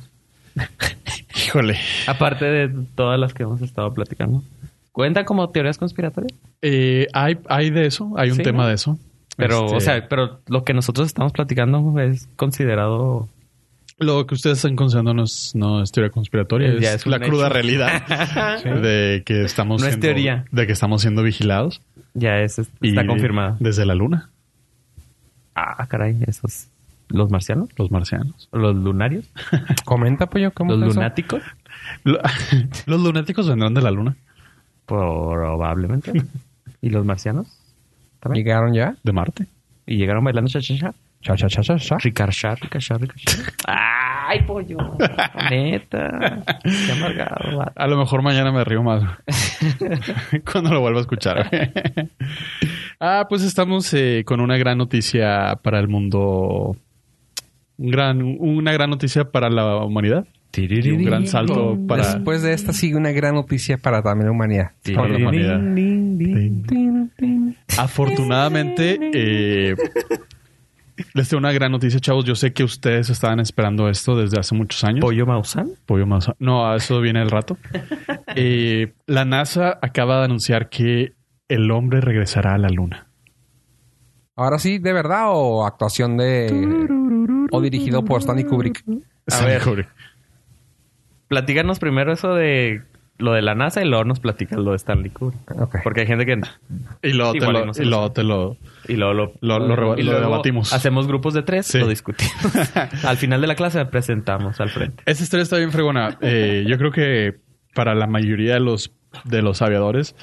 Híjole. Aparte de todas las que hemos estado platicando. ¿Cuenta como teorías conspiratorias? Eh, hay, hay de eso, hay un Sí, tema ¿no? de eso. Pero, Este, o sea, pero lo que nosotros estamos platicando es considerado... lo que ustedes están considerando no es, no es teoría conspiratoria, Ya es, es un la hecho. cruda realidad de que estamos No es siendo- teoría. de que estamos siendo vigilados. Ya es, es- y está confirmada. Desde la luna, Ah, caray, esos... ¿Los marcianos? los marcianos. ¿Los lunarios? comenta, pollo, ¿cómo ¿Los fue eso? lunáticos? Lo- los lunáticos vendrán de la luna, Probablemente. ¿Y los marcianos? también. ¿Llegaron ya? de Marte. Y llegaron bailando cha cha cha. Cha, cha, cha, cha, cha. Ricar cha, ricar cha, ricar cha. Ay, pollo. Neta. Qué amargado. vato. A lo mejor mañana me río más cuando lo vuelva a escuchar. ah, pues estamos eh, con una gran noticia para el mundo. Un gran, una gran noticia para la humanidad. Y un gran salto para Después de esta sigue una gran noticia para también la humanidad. para la humanidad. Afortunadamente, eh, les tengo una gran noticia, chavos. Yo sé que ustedes estaban esperando esto desde hace muchos años. ¿Pollo Mausan? Pollo más. No, eso viene el rato. Eh, la NASA acaba de anunciar que el hombre regresará a la luna. Ahora sí, de verdad o actuación de o dirigido por Stanley Kubrick. A ver. Kubrick. Platícanos primero eso de lo de la NASA y luego nos platicas lo de Stanley Kubrick. Ok. Porque hay gente que... Y luego te Igual lo, y no se y lo luego te lo- Y luego lo, Lo- lo reba- y lo luego debatimos. Hacemos grupos de tres, Sí. lo discutimos. al final de la clase presentamos al frente. Esa historia está bien fregona. Eh, yo creo que para la mayoría de los, de los aviadores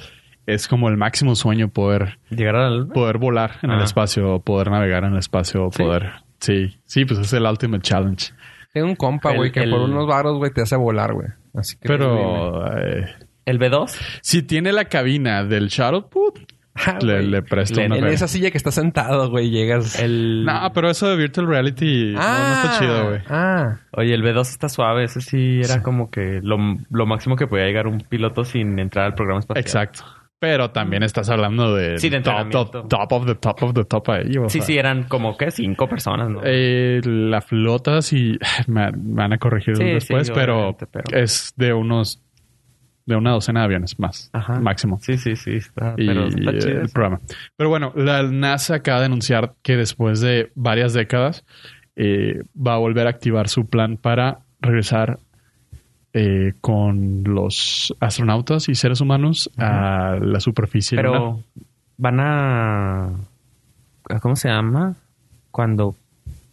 es como el máximo sueño poder, Llegar al... poder volar en el Ah. espacio, poder navegar en el espacio, poder... Sí, sí, pues es el ultimate challenge. Tengo un compa, El- güey, que el- por unos varos, güey, te hace volar, güey. Así que Pero eh, El B2. si tiene la cabina del shuttle, put, Ah, le, güey. le presta en, una en feria. esa silla que estás sentado, güey, llegas. El... Ah. No, pero eso de virtual reality no- no, está chido, güey. Ah, Oye, el B2 está suave. Ese sí era como que lo, lo máximo que podía llegar un piloto sin entrar al programa espacial. Exacto. Pero también estás hablando de Sí, de top, entrenamiento. top, top of the top of the top ahí. o Sí, sea. sí, eran como que cinco personas, ¿no? Eh, la flota, sí, me, me van a corregir Sí, después, sí, pero, obviamente, pero- es de unos, de una docena de aviones más, Ajá. máximo. Sí, sí, sí. Está, y pero eh, está chido. el programa. Pero bueno, la NASA acaba de anunciar que después de varias décadas eh, va a volver a activar su plan para regresar eh, con los astronautas y seres humanos a la superficie. lunar. Pero van a... ¿a ¿Cómo se llama? Cuando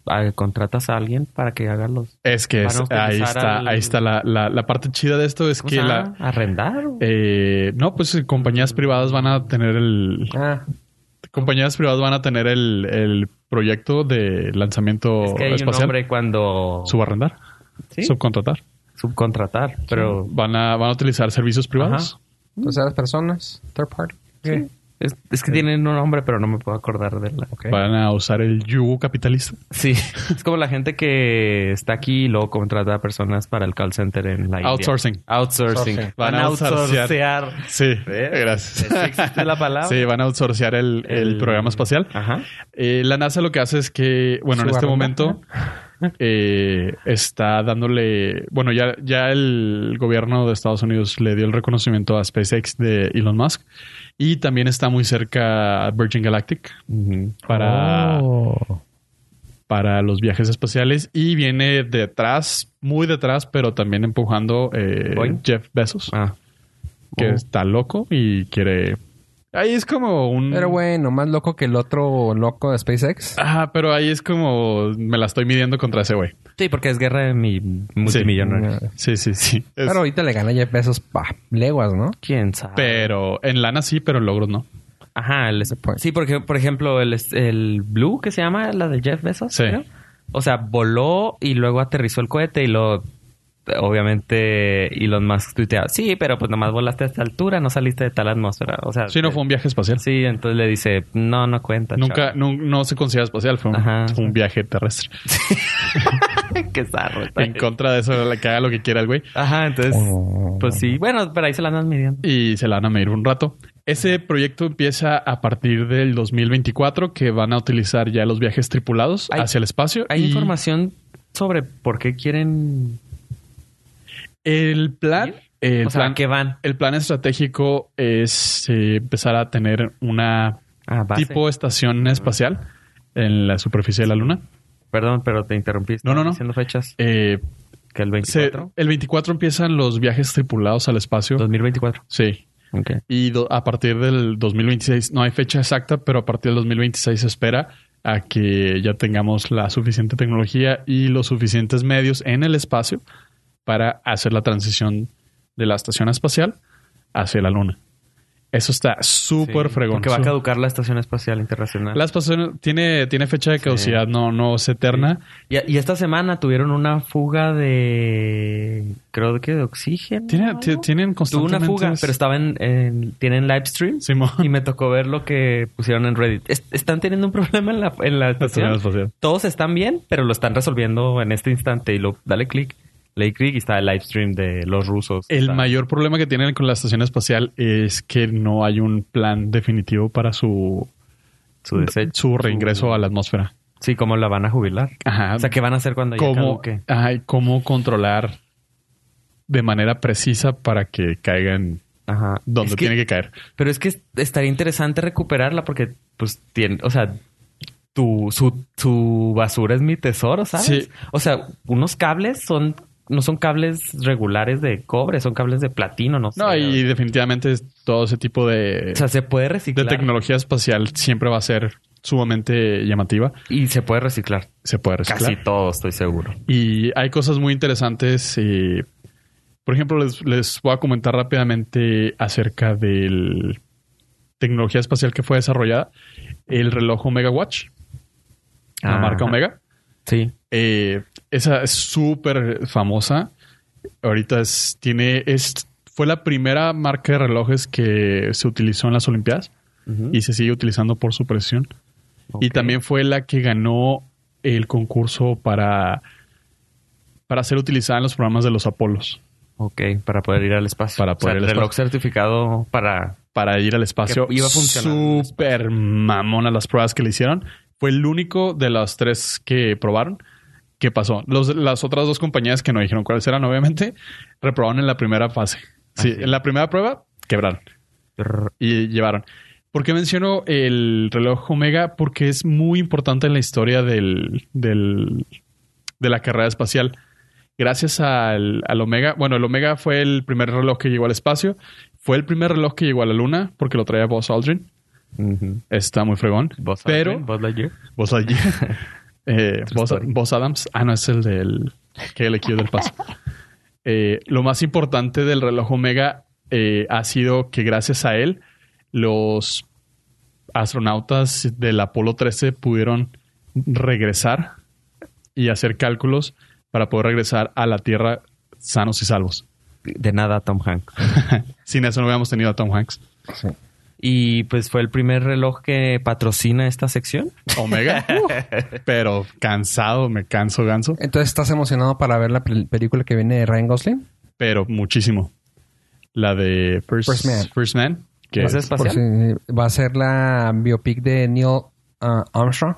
ah, contratas a alguien para que haga los... es que van es- a utilizar ahí está, al- ahí está la, la- la parte chida de esto es ¿Cómo que se la llama? ¿Arrendar? o- eh, no pues eh, compañías privadas van a tener el ah. compañías privadas van a tener el, el proyecto de lanzamiento es que hay un espacial. nombre cuando... Subarrendar. ¿Sí? Subcontratar. subcontratar, pero... Van a, van a utilizar servicios privados. terceras personas, third party. Sí. Es, es que tienen un nombre, pero no me puedo acordar de la... Van a usar el yugo capitalista. Sí, es como la gente que está aquí y luego contrata a personas para el call center en la India. Outsourcing. Outsourcing. Outsourcing. Van a outsourcear. Sí, ¿Ves? gracias. ¿Sí existe la palabra? Sí, van a outsourcear el, el El- programa espacial. Ajá. Eh, la NASA lo que hace es que, bueno, en este Subarrendar. momento eh, está dándole, bueno, ya, ya el gobierno de Estados Unidos le dio el reconocimiento a SpaceX de Elon Musk y también está muy cerca Virgin Galactic para, para los viajes espaciales y viene detrás, muy detrás, pero también empujando eh, Boeing. Jeff Bezos, Ah. que Oh. está loco y quiere... Ahí es como un... Pero, güey, no más loco que el otro loco de SpaceX. Ah, pero ahí es como me la estoy midiendo contra ese güey. Sí, porque es guerra de mi multimillonario. Sí, sí, sí. Es- Pero ahorita le gana 10 pesos pa leguas, ¿no? ¿Quién sabe? pero en lana sí, pero en logros no. Ajá, el- sí, porque por ejemplo el, el Blue que se llama la de Jeff Bezos, Sí. creo. O sea, voló y luego aterrizó el cohete y lo obviamente Elon Musk tuitea, sí, pero pues nomás volaste a esta altura, no saliste de tal atmósfera, o sea, Sí, no eh, fue un viaje espacial. sí, entonces le dice, no, no cuenta. Nunca, chavo". no, no se considera espacial, fue un, Ajá. fue un viaje terrestre. Qué zarro. está. En contra de eso, la que haga lo que quiera el güey. Ajá, entonces, pues sí, bueno, pero ahí se la andan midiendo. y se la van a medir un rato. Ese proyecto empieza a partir del 2024 que van a utilizar ya los viajes tripulados Hay- hacia el espacio. Hay y información sobre por qué quieren, El plan, el o sea, plan, que van. el plan estratégico es eh, empezar a tener una Ah, base. tipo estación espacial en la superficie de la Luna. Perdón, pero te interrumpí. No, no, no. Diciendo fechas Eh, que el se- 24. el 24 empiezan los viajes tripulados al espacio. 2024. Sí, Ok. Y do- a partir del 2026, no hay fecha exacta, pero a partir del 2026 se espera a que ya tengamos la suficiente tecnología y los suficientes medios en el espacio para hacer la transición de la estación espacial hacia la Luna. Eso está súper fregón. Porque va a Su- caducar la Estación Espacial Internacional. La estación tiene, tiene fecha de caducidad, no, no es eterna. Y, y esta semana tuvieron una fuga de. Creo que de oxígeno. Tiene- ¿no? ti- tienen Tuvo una constantemente... fuga, pero estaba en. en- tienen live stream. Simón. Y me tocó ver lo que pusieron en Reddit. Es- están teniendo un problema en la, en la La estación estación. espacial. Todos están bien, pero lo están resolviendo en este instante. Y lo dale clic. Lake Creek y está el live stream de los rusos. El Está- mayor problema que tienen con la estación espacial es que no hay un plan definitivo para su, su desecho. su reingreso a la atmósfera. Sí, ¿cómo la van a jubilar? Ajá. O sea, ¿qué van a hacer cuando ya cómo, caduque? ajá, y cómo controlar de manera precisa para que caigan Ajá. donde Es que- tiene que caer. Pero es que est- estaría interesante recuperarla porque, pues, tiene, o sea, tu, su, su basura es mi tesoro, ¿sabes? Sí. O sea, unos cables son, no son cables regulares de cobre, son cables de platino, no sé. No, y definitivamente es- todo ese tipo de, O sea, se puede de reciclar. tecnología espacial siempre va a ser sumamente llamativa. Y se puede reciclar. Se puede reciclar. Casi todo, estoy seguro. Y hay cosas muy interesantes. eh, por ejemplo, les, les voy a comentar rápidamente acerca de tecnología espacial que fue desarrollada. El reloj Omega Watch, la Ah. marca Omega. Sí. Eh, esa es súper famosa. Ahorita es, tiene, es, fue la primera marca de relojes que se utilizó en las Olimpiadas y se sigue utilizando por su presión. Y también fue la que ganó el concurso para, para ser utilizada en los programas de los Apolos, Ok, para poder ir al espacio. Para O sea, poder ir al reloj certificado para... para ir al espacio. Que iba funcionando en el Súper mamón a las pruebas que le hicieron. Fue el único de las tres que probaron. ¿Qué pasó? Los- las otras dos compañías que no dijeron cuáles eran, obviamente, reprobaron en la primera fase. Sí, en la primera prueba quebraron y llevaron. ¿Por qué menciono el reloj Omega? Porque es muy importante en la historia del, del- de la carrera espacial. Gracias al, al Omega, bueno, el Omega fue el primer reloj que llegó al espacio. Fue el primer reloj que llegó a la Luna porque lo traía Buzz Aldrin. Está muy fregón. Buzz pero Aldrin, Buzz Lightyear. Buzz Aldrin. Eh, True Buzz, story. Buzz Adams. Ah, no, es el del KLQ del paso. Eh, lo más importante del reloj Omega eh, ha sido que gracias a él los astronautas del Apolo 13 pudieron regresar y hacer cálculos para poder regresar a la Tierra sanos y salvos. De nada, Tom Hanks. Sin eso no hubiéramos tenido a Tom Hanks. Y pues fue el primer reloj que patrocina esta sección. Omega, uh, pero cansado, me canso ganso. Entonces, ¿estás emocionado para ver la pel- película que viene de Ryan Gosling? pero muchísimo. La de First, First Man. First Man, que ¿Es es- Por espacial? si- va a ser la biopic de Neil ah, Armstrong.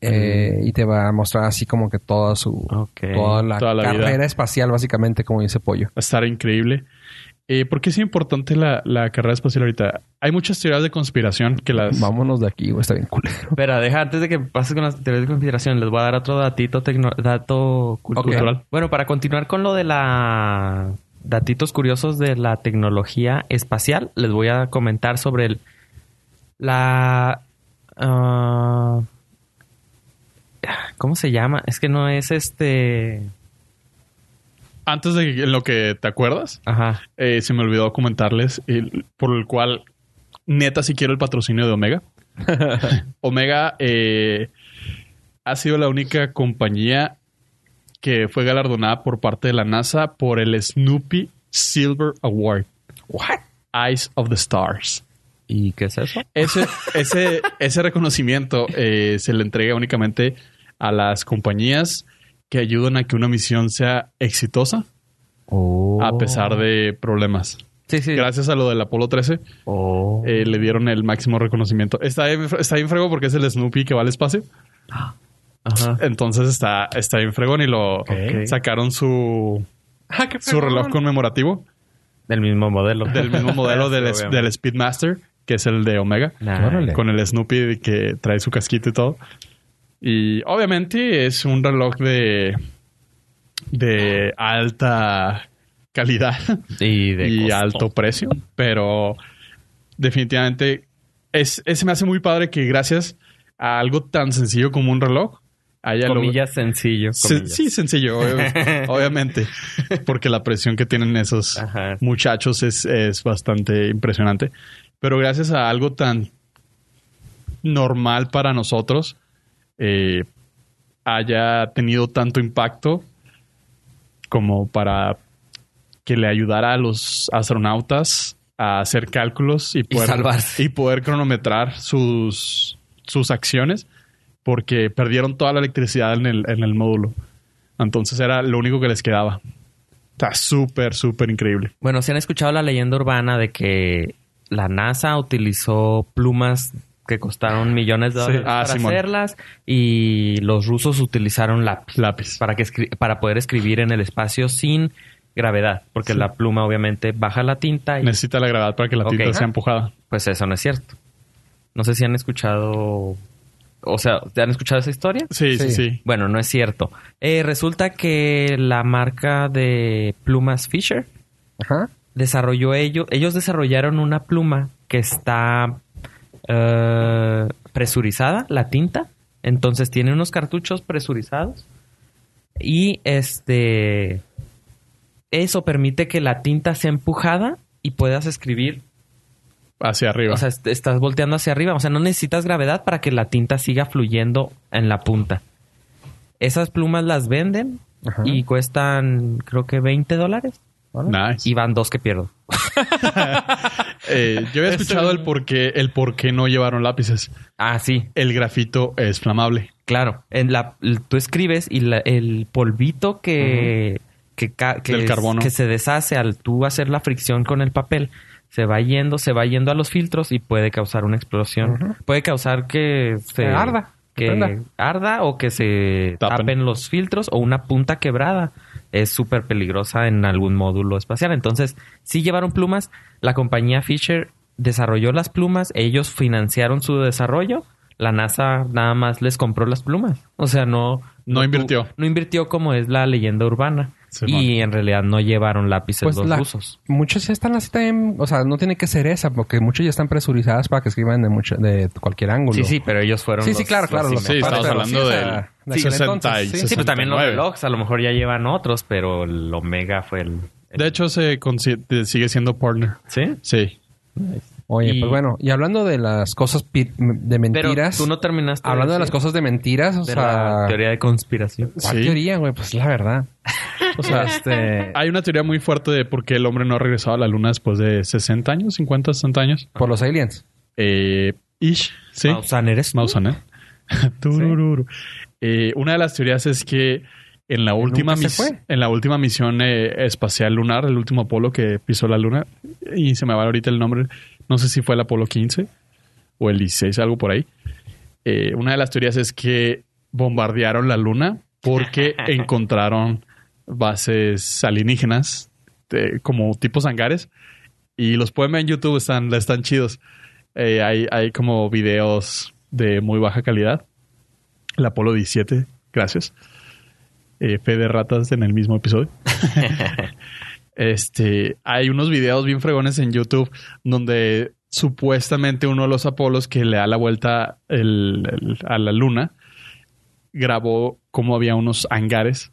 eh, Y te va a mostrar así como que toda su... Ok. Toda la, Toda la vida. carrera espacial, básicamente, como dice Pollo. va a estar increíble. Eh, ¿Por qué es importante la, la carrera espacial ahorita? Hay muchas teorías de conspiración que las... Vámonos de aquí, güey. Está bien culero. Espera, deja antes de que pases con las teorías de conspiración, les voy a dar otro datito, tecno- dato cultural. Ok. Bueno, para continuar con lo de la datitos curiosos de la tecnología espacial, les voy a comentar sobre el la ah, ¿Cómo se llama? Es que no es este, Antes de que- en lo que te acuerdas, ajá, eh, se me olvidó comentarles el- por el cual neta si quiero el patrocinio de Omega. Omega eh, ha sido la única compañía que fue galardonada por parte de la NASA por el Snoopy Silver Award. Eyes of the Stars. ¿y qué es eso? Ese, ese, ese reconocimiento eh, se le entrega únicamente a las compañías que ayudan a que una misión sea exitosa Ah, a pues, pesar de problemas. Sí, sí. Gracias a lo del Apolo 13, Oh. eh, le dieron el máximo reconocimiento. Está bien, está bien fregón porque es el Snoopy que va al espacio. Ajá. Entonces está, está bien fregón y lo sacaron su, su reloj conmemorativo Del mismo modelo. del mismo modelo del, Sí, del Speedmaster, que es el de Omega. Nah. Órale. con el Snoopy que trae su casquito y todo. Y obviamente es un reloj de, de alta calidad Y de y costo. alto precio, pero definitivamente es, es- se me hace muy padre que gracias a algo tan sencillo como un reloj haya lo- Comillas sencillo. Se- comillas. sí, sencillo, ob- obviamente, porque la presión que tienen esos Ajá. muchachos es, es bastante impresionante. Pero gracias a algo tan normal para nosotros, eh, haya tenido tanto impacto como para que le ayudara a los astronautas a hacer cálculos y poder, salvarse. y poder cronometrar sus, sus acciones, porque perdieron toda la electricidad en el, en el módulo. Entonces era lo único que les quedaba. Está súper, súper increíble. Bueno, si han escuchado la leyenda urbana de que la NASA utilizó plumas que costaron millones de dólares Ah, para Simón. hacerlas y los rusos utilizaron lápiz Lápiz. para que escri- para poder escribir en el espacio sin gravedad, porque la pluma obviamente baja la tinta y Necesita la gravedad para que la Ok. tinta sea empujada. pues eso no es cierto. No sé si han escuchado o sea, ¿te han escuchado esa historia? Sí, Sí. sí, sí. Bueno, no es cierto. Eh, resulta que la marca de plumas Fisher Ajá. desarrolló ellos, ellos desarrollaron una pluma que está eh, presurizada, la tinta. Entonces tiene unos cartuchos presurizados. Y este. Eso permite que la tinta sea empujada y puedas escribir. Hacia arriba. O sea, est- estás volteando hacia arriba. O sea, no necesitas gravedad para que la tinta siga fluyendo en la punta. Esas plumas las venden Ajá. y cuestan, creo que 20 dólares. nice. Y van dos que pierdo. Eh, yo Este había escuchado el por qué, el por qué no llevaron lápices. Ah, sí, El grafito es flamable. claro. En la, l- tú escribes y la- el polvito que, que, ca- que Del es- carbono. que se deshace al tú hacer la fricción con el papel se va yendo, se va yendo a los filtros y puede causar una explosión. Puede causar que se Que arda, que prenda. que arda o que se Tapen. tapen. los filtros o una punta quebrada. Es súper peligrosa en algún módulo espacial. Entonces, sí llevaron plumas. La compañía Fisher desarrolló las plumas. Ellos financiaron su desarrollo. La NASA nada más les compró las plumas. O sea, no... No invirtió. No invirtió como es la leyenda urbana. Simón. y en realidad no llevaron lápices Pues los la- rusos. Muchas ya están así también. O sea, no tiene que ser esa, porque muchas ya están presurizadas para que escriban de, mucho, de cualquier ángulo. Sí, sí, pero ellos fueron Sí, sí, los- claro, claro. los los Sí, papás, estamos pero hablando o sea, del de aquel 60 y entonces, Sí, pero también los 69. relojes a lo mejor ya llevan otros, pero el Omega fue el... el- De hecho, se consi- sigue siendo partner. ¿sí? Sí. Oye, Y- pues bueno, y hablando de las cosas pi- de Pero mentiras. tú no terminaste Hablando de decir las cosas de mentiras, o de sea. la teoría de conspiración. ¿Cuál Sí. teoría, güey? Pues la verdad. O sea, este. Hay una teoría muy fuerte de por qué el hombre no ha regresado a la luna después de 60 años, 50, 60 años. Por los aliens. Eh, ish, sí. Maussan, ¿eres tú? Mausanel. Turururu. Eh, una de las teorías es que en la última, nunca mis- se fue. en la última misión eh, espacial lunar, el último Apolo que pisó la luna, y se me va ahorita el nombre, no sé si fue el Apolo 15 o el 16, algo por ahí. Eh, una de las teorías es que bombardearon la luna porque encontraron bases alienígenas, de- como tipos hangares, y los pueden ver en YouTube, están, están chidos. Eh, hay, hay como videos de muy baja calidad. El Apolo 17, gracias. Eh, fe de ratas en el mismo episodio. este, hay unos videos bien fregones en YouTube donde supuestamente uno de los Apolos que le da la vuelta el- el- a la luna grabó cómo había unos hangares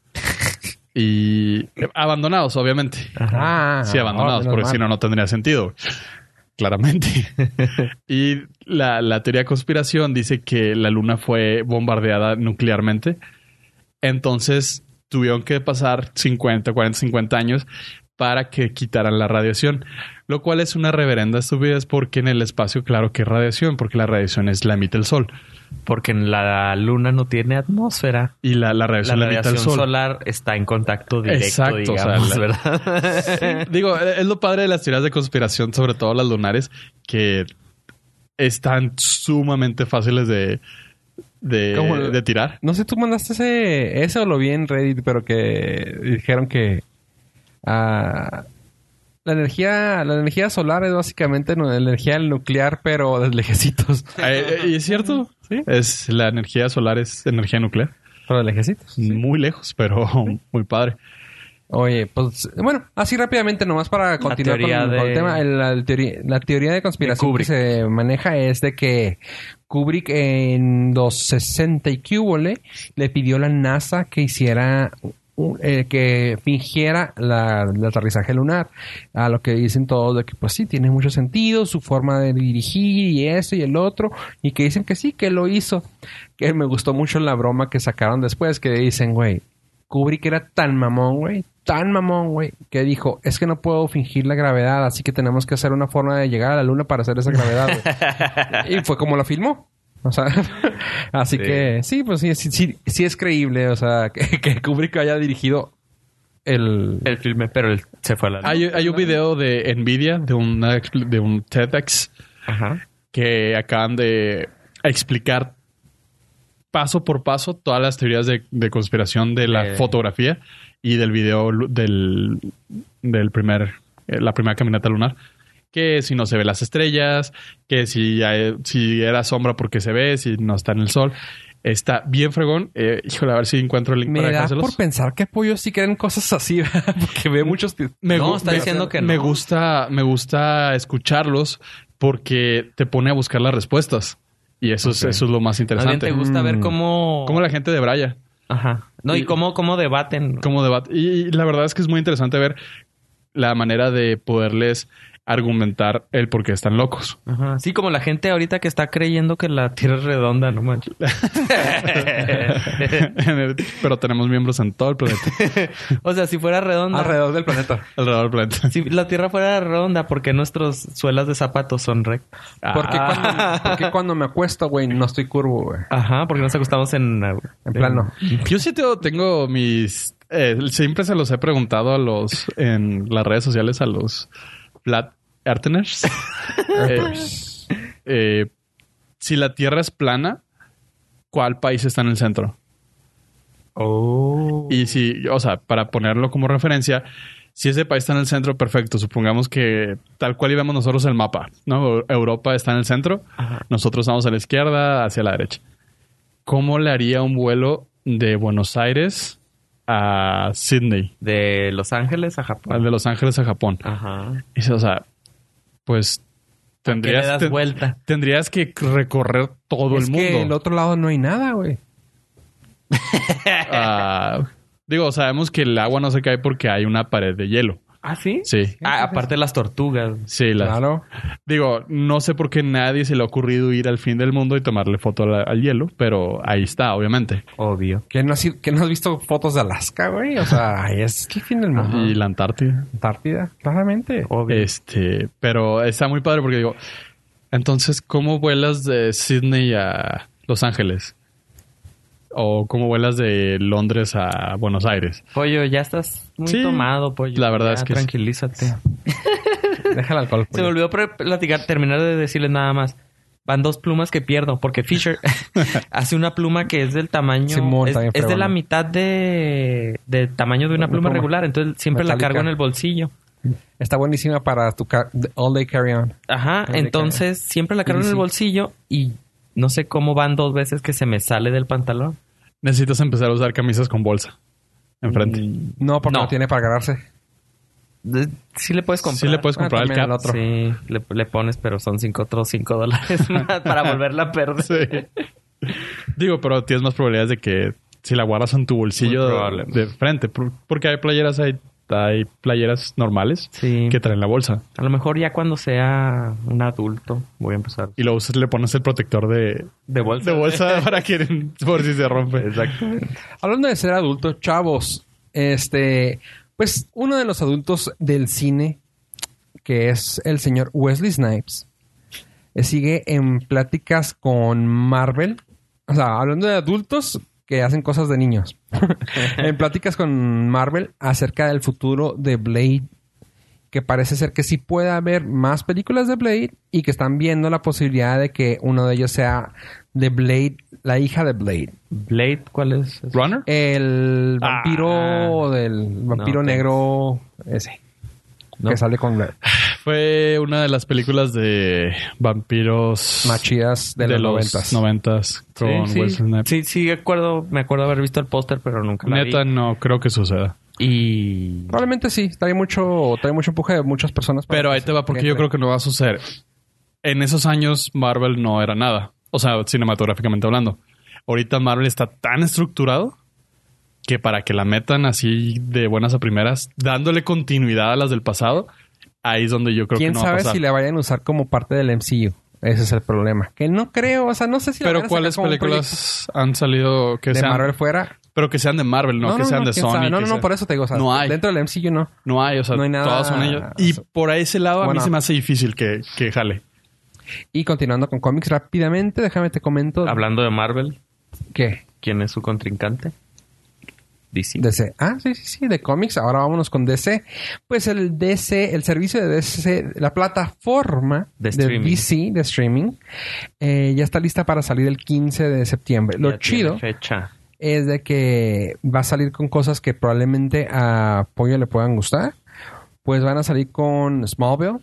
y abandonados, obviamente. Ah, Sí, abandonados, oh, menos porque mal. si no, no tendría sentido. Claramente. y la, la teoría de conspiración dice que la luna fue bombardeada nuclearmente. Entonces tuvieron que pasar 50, 40, 50 años para que quitaran la radiación. Lo cual es una reverenda estupidez porque en el espacio, claro que es radiación, porque la radiación es la emite el sol. Porque la luna no tiene atmósfera. Y la, La la radiación la, emite radiación el sol. solar está en contacto directo, Exacto, o sea, digamos, la- ¿verdad? Digo, e, es lo padre de las teorías de conspiración, sobre todo las lunares, que están sumamente fáciles de, de, Como el- de tirar. No sé, tú mandaste ese, ese o lo vi en Reddit, pero que dijeron que ah, la energía, la energía solar es básicamente nu- energía nuclear, pero de lejecitos. Eh, eh, y es cierto, Sí. es la energía solar es energía nuclear. Pero de lejecitos. Muy lejos, pero muy padre. Oye, pues bueno, así rápidamente, nomás para continuar teoría con, con el de- tema. el- la, teoría, la teoría de conspiración que Kubrick. se maneja es de que Kubrick en los 60 y cúbole le pidió a la NASA que hiciera un- eh, que fingiera la, el aterrizaje lunar. A lo que dicen todos de que pues sí, tiene mucho sentido, su forma de dirigir y eso y el otro, y que dicen que sí, que lo hizo. Que me gustó mucho la broma que sacaron después, que dicen, güey, Kubrick era tan mamón, güey, tan mamón, güey, que dijo, es que no puedo fingir la gravedad, así que tenemos que hacer una forma de llegar a la luna para hacer esa gravedad, güey. y fue como la filmó. O sea, así Sí. que sí, pues sí, sí, sí, sí es creíble. O sea, que, que Kubrick haya dirigido el. El filme, pero él se fue a la... Hay, hay un video de Nvidia, de, una expl- de un TEDx, Ajá. que acaban de explicar paso por paso todas las teorías de, de conspiración de la Eh. fotografía y del video lu- del, del primer, eh, la primera caminata lunar. Que si no se ve las estrellas, que si, hay- si era sombra porque se ve, si no está en el sol. Está bien fregón. Eh, híjole, a ver si encuentro el link Me para da dejárselos. por pensar que Pollo sí creen cosas así, ¿verdad? porque ve muchos. Me, No, gu- está me- diciendo que me no. gusta, me gusta escucharlos porque te pone a buscar las respuestas. Y eso, es, eso es lo Más más bien te interesante. gusta ver cómo... Como la gente de Braya, Ajá. No, y, Y- cómo, cómo debaten. como debate. Y la verdad es que es muy interesante ver la manera de poderles argumentar el por qué están locos. Ajá. Sí, como la gente ahorita que está creyendo que la Tierra es redonda, no manches. Pero tenemos miembros en todo el planeta, o sea, si fuera Ah, redonda... Alrededor del planeta. alrededor del planeta. Si la Tierra fuera redonda, ¿por qué nuestros suelas de zapatos son rectas? Porque, Ah. cuando, porque cuando me acuesto, güey, no estoy curvo, güey. Ajá, porque nos acostamos en... En plano. Yo sí tengo, tengo mis... eh, siempre se los he preguntado a los... En las redes sociales a los... Flat Eartheners. Eh, eh, si la Tierra es plana, ¿cuál país está en el centro? Oh. Y si... O sea, para ponerlo como referencia... Si ese país está en el centro, perfecto. Supongamos que tal cual íbamos nosotros el mapa, ¿no? Europa está en el centro, nosotros vamos a la izquierda, hacia la derecha. ¿Cómo le haría un vuelo de Buenos Aires a Sydney? De Los Ángeles a Japón. al de Los Ángeles a Japón. Ajá. Y dice, o sea, pues Que le tendrías, das te- vuelta. tendrías que recorrer todo es el mundo. que el otro lado no hay nada, güey. Ah, digo, sabemos que el agua no se cae porque hay una pared de hielo. ¿Ah, sí? Sí, Ah, aparte de las tortugas. sí. la- Claro. Digo, no sé por qué nadie se le ha ocurrido ir al fin del mundo y tomarle foto al, al hielo, pero ahí está, obviamente. Obvio. Que no, has, ido- que no has visto fotos de Alaska, güey. O sea, ahí es que fin del mundo. Y la Antártida. Antártida, claramente. Este, pero está muy padre porque digo, entonces, ¿cómo vuelas de Sydney a Los Ángeles? ¿O cómo vuelas de Londres a Buenos Aires? Pollo, ya estás muy Sí. tomado, pollo. La verdad Ya, es que sí. Tranquilízate. Deja el alcohol. Se me olvidó pre- platicar, terminar de decirles nada más. Van dos plumas que pierdo, porque Fisher hace una pluma que es del tamaño. Simón, es, también es de fregona. la mitad de, del tamaño de una Una pluma, pluma. regular, entonces siempre Metálica. la cargo en el bolsillo. Está buenísima para tu ca- All Day Carry On. Ajá, Metálica. entonces siempre la cargo en el Easy. bolsillo y no sé cómo van dos veces que se me sale del pantalón. Necesitas empezar a usar camisas con bolsa enfrente. No, porque No. no, tiene para agarrarse. De- Sí le puedes comprar. Sí le puedes Ah, comprar el también cap. el otro. Sí, le, le pones, pero son cinco otros cinco dólares más para volverla a perder. Sí. Digo, pero tienes más probabilidades de que si la guardas en tu bolsillo Muy probable. de frente, por- porque hay playeras, hay, hay playeras normales Sí. que traen la bolsa. A lo mejor ya cuando sea un adulto voy a empezar. Y lo usas, le pones el protector de, De bolsa. de bolsa para que por si se rompe. Hablando de ser adulto, chavos, este, pues uno de los adultos del cine, que es el señor Wesley Snipes, eh, sigue en pláticas con Marvel. O sea, hablando de adultos que hacen cosas de niños. en pláticas con Marvel acerca del futuro de Blade. Que parece ser que sí puede haber más películas de Blade y que están viendo la posibilidad de que uno de ellos sea de Blade, la hija de Blade. Blade, ¿cuál es? ese? ¿Runner? El Ah, vampiro del vampiro no, pues. negro ese. No. Que sale con la- Fue una de las películas de vampiros más chidas de, los noventas. noventas con sí, Will sí. Smith. sí, sí, acuerdo, me acuerdo haber visto el póster, pero nunca la Neta, vi. no creo que suceda. Y Probablemente sí, trae mucho, trae mucho empuje de muchas personas. para Pero que ahí te va, porque entre. yo creo que no va a suceder. En esos años, Marvel no era nada. O sea, cinematográficamente hablando. Ahorita Marvel está tan estructurado que para que la metan así de buenas a primeras, dándole continuidad a las del pasado, ahí es donde yo creo ¿Quién que no va a sabe pasar. si la vayan a usar como parte del MCU? Ese es el problema. Que no creo, o sea, no sé si la van Pero a ¿cuáles sacar como un películas han salido proyecto que de sean Marvel fuera. Pero que sean de Marvel, no, que sean de quién Sony. sabe. No, no, que no, sean- por eso te digo, o sea, No hay. dentro del MCU no. No hay, o sea, No hay nada- todas son ellos. Y por ese lado a mí Bueno. se me hace difícil que, que jale. Y continuando con cómics rápidamente, déjame te comento. Hablando de Marvel, ¿Qué? ¿quién es su contrincante? DC. DC. Ah, sí, sí, sí, de cómics. Ahora vámonos con DC. Pues el DC, el servicio de DC, la plataforma de, De streaming. DC, de streaming, eh, ya está lista para salir el 15 de septiembre. Lo Ya tiene chido Fecha. es de que va a salir con cosas que probablemente a Pollo le puedan gustar. Pues van a salir con Smallville.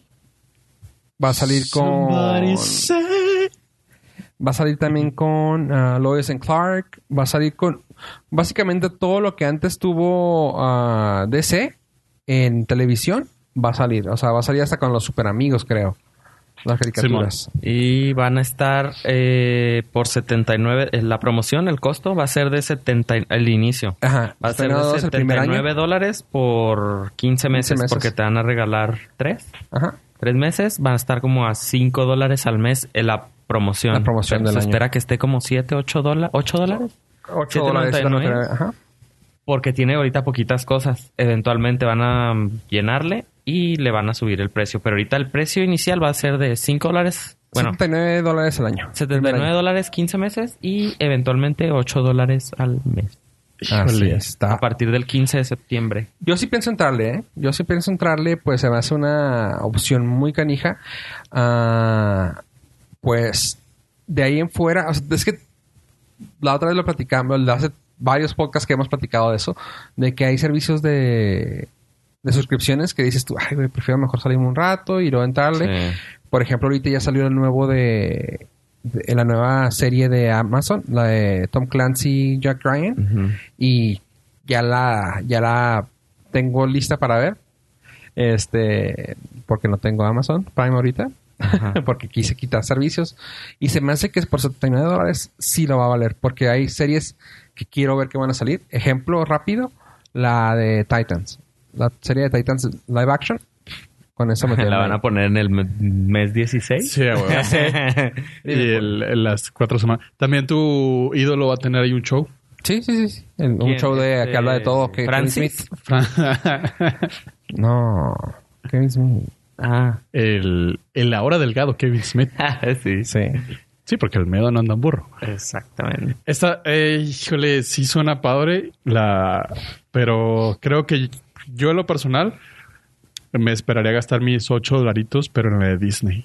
Va a salir con... Va a salir también con ah, Lois and Clark. Va a salir con básicamente todo lo que antes tuvo ah, DC en televisión. Va a salir. O sea, va a salir hasta con los super amigos, creo. Las caricaturas. Y van a estar eh, por 79. eh, La promoción, el costo va a ser de 70. y- El inicio. Ajá. Va a ser de Estrenados el primer año. 79 dólares por 15 meses, meses. porque te van a regalar 3. Ajá. Tres meses van a estar como a 5 dólares al mes en la promoción. La promoción Pero del se año. espera que esté como 7, 8 dólares. 8 dólares. 8 dólares. 7.99. Ajá. Porque tiene ahorita poquitas cosas. Eventualmente van a mm, llenarle y le van a subir el precio. Pero ahorita el precio inicial va a ser de 5 dólares. Bueno, 79 dólares al año. 79 dólares 15 meses y eventualmente 8 dólares al mes. Así Híjole. está. A partir del 15 de septiembre. Yo sí pienso entrarle, ¿eh? Yo sí pienso entrarle, pues se me hace una opción muy canija. Ah, pues de ahí en fuera, o sea, es que la otra vez lo platicamos, la- hace varios podcasts que hemos platicado de eso, de que hay servicios de, de suscripciones que dices tú, ay, güey, prefiero mejor salirme un rato y luego Eh, entrarle. Por ejemplo, ahorita ya salió el nuevo de, de- la nueva serie de Amazon, la de Tom Clancy, Jack Ryan y ya la ya la tengo lista para ver este porque no tengo Amazon Prime ahorita porque quise quitar servicios y se me hace que es por 79 dólares sí lo va a valer porque hay series que quiero ver que van a salir ejemplo rápido la de Titans la serie de Titans live action con eso me quedé La van a ahí. poner en el me- mes 16. Sí, güey. Y el- el- las cuatro semanas. También tu ídolo va a tener ahí un show. sí sí sí, sí. El- un ¿Quién? show de Este, que habla de todo que Kevin Francis. Smith. Fran- no Kevin Smith Ah, el, el ahora delgado Kevin Smith. sí. sí Sí, porque el medo no anda en burro. Exactamente. Esta, eh, híjole, sí suena padre, la, pero creo que yo en lo personal me esperaría gastar mis 8 dolaritos, pero en la de Disney.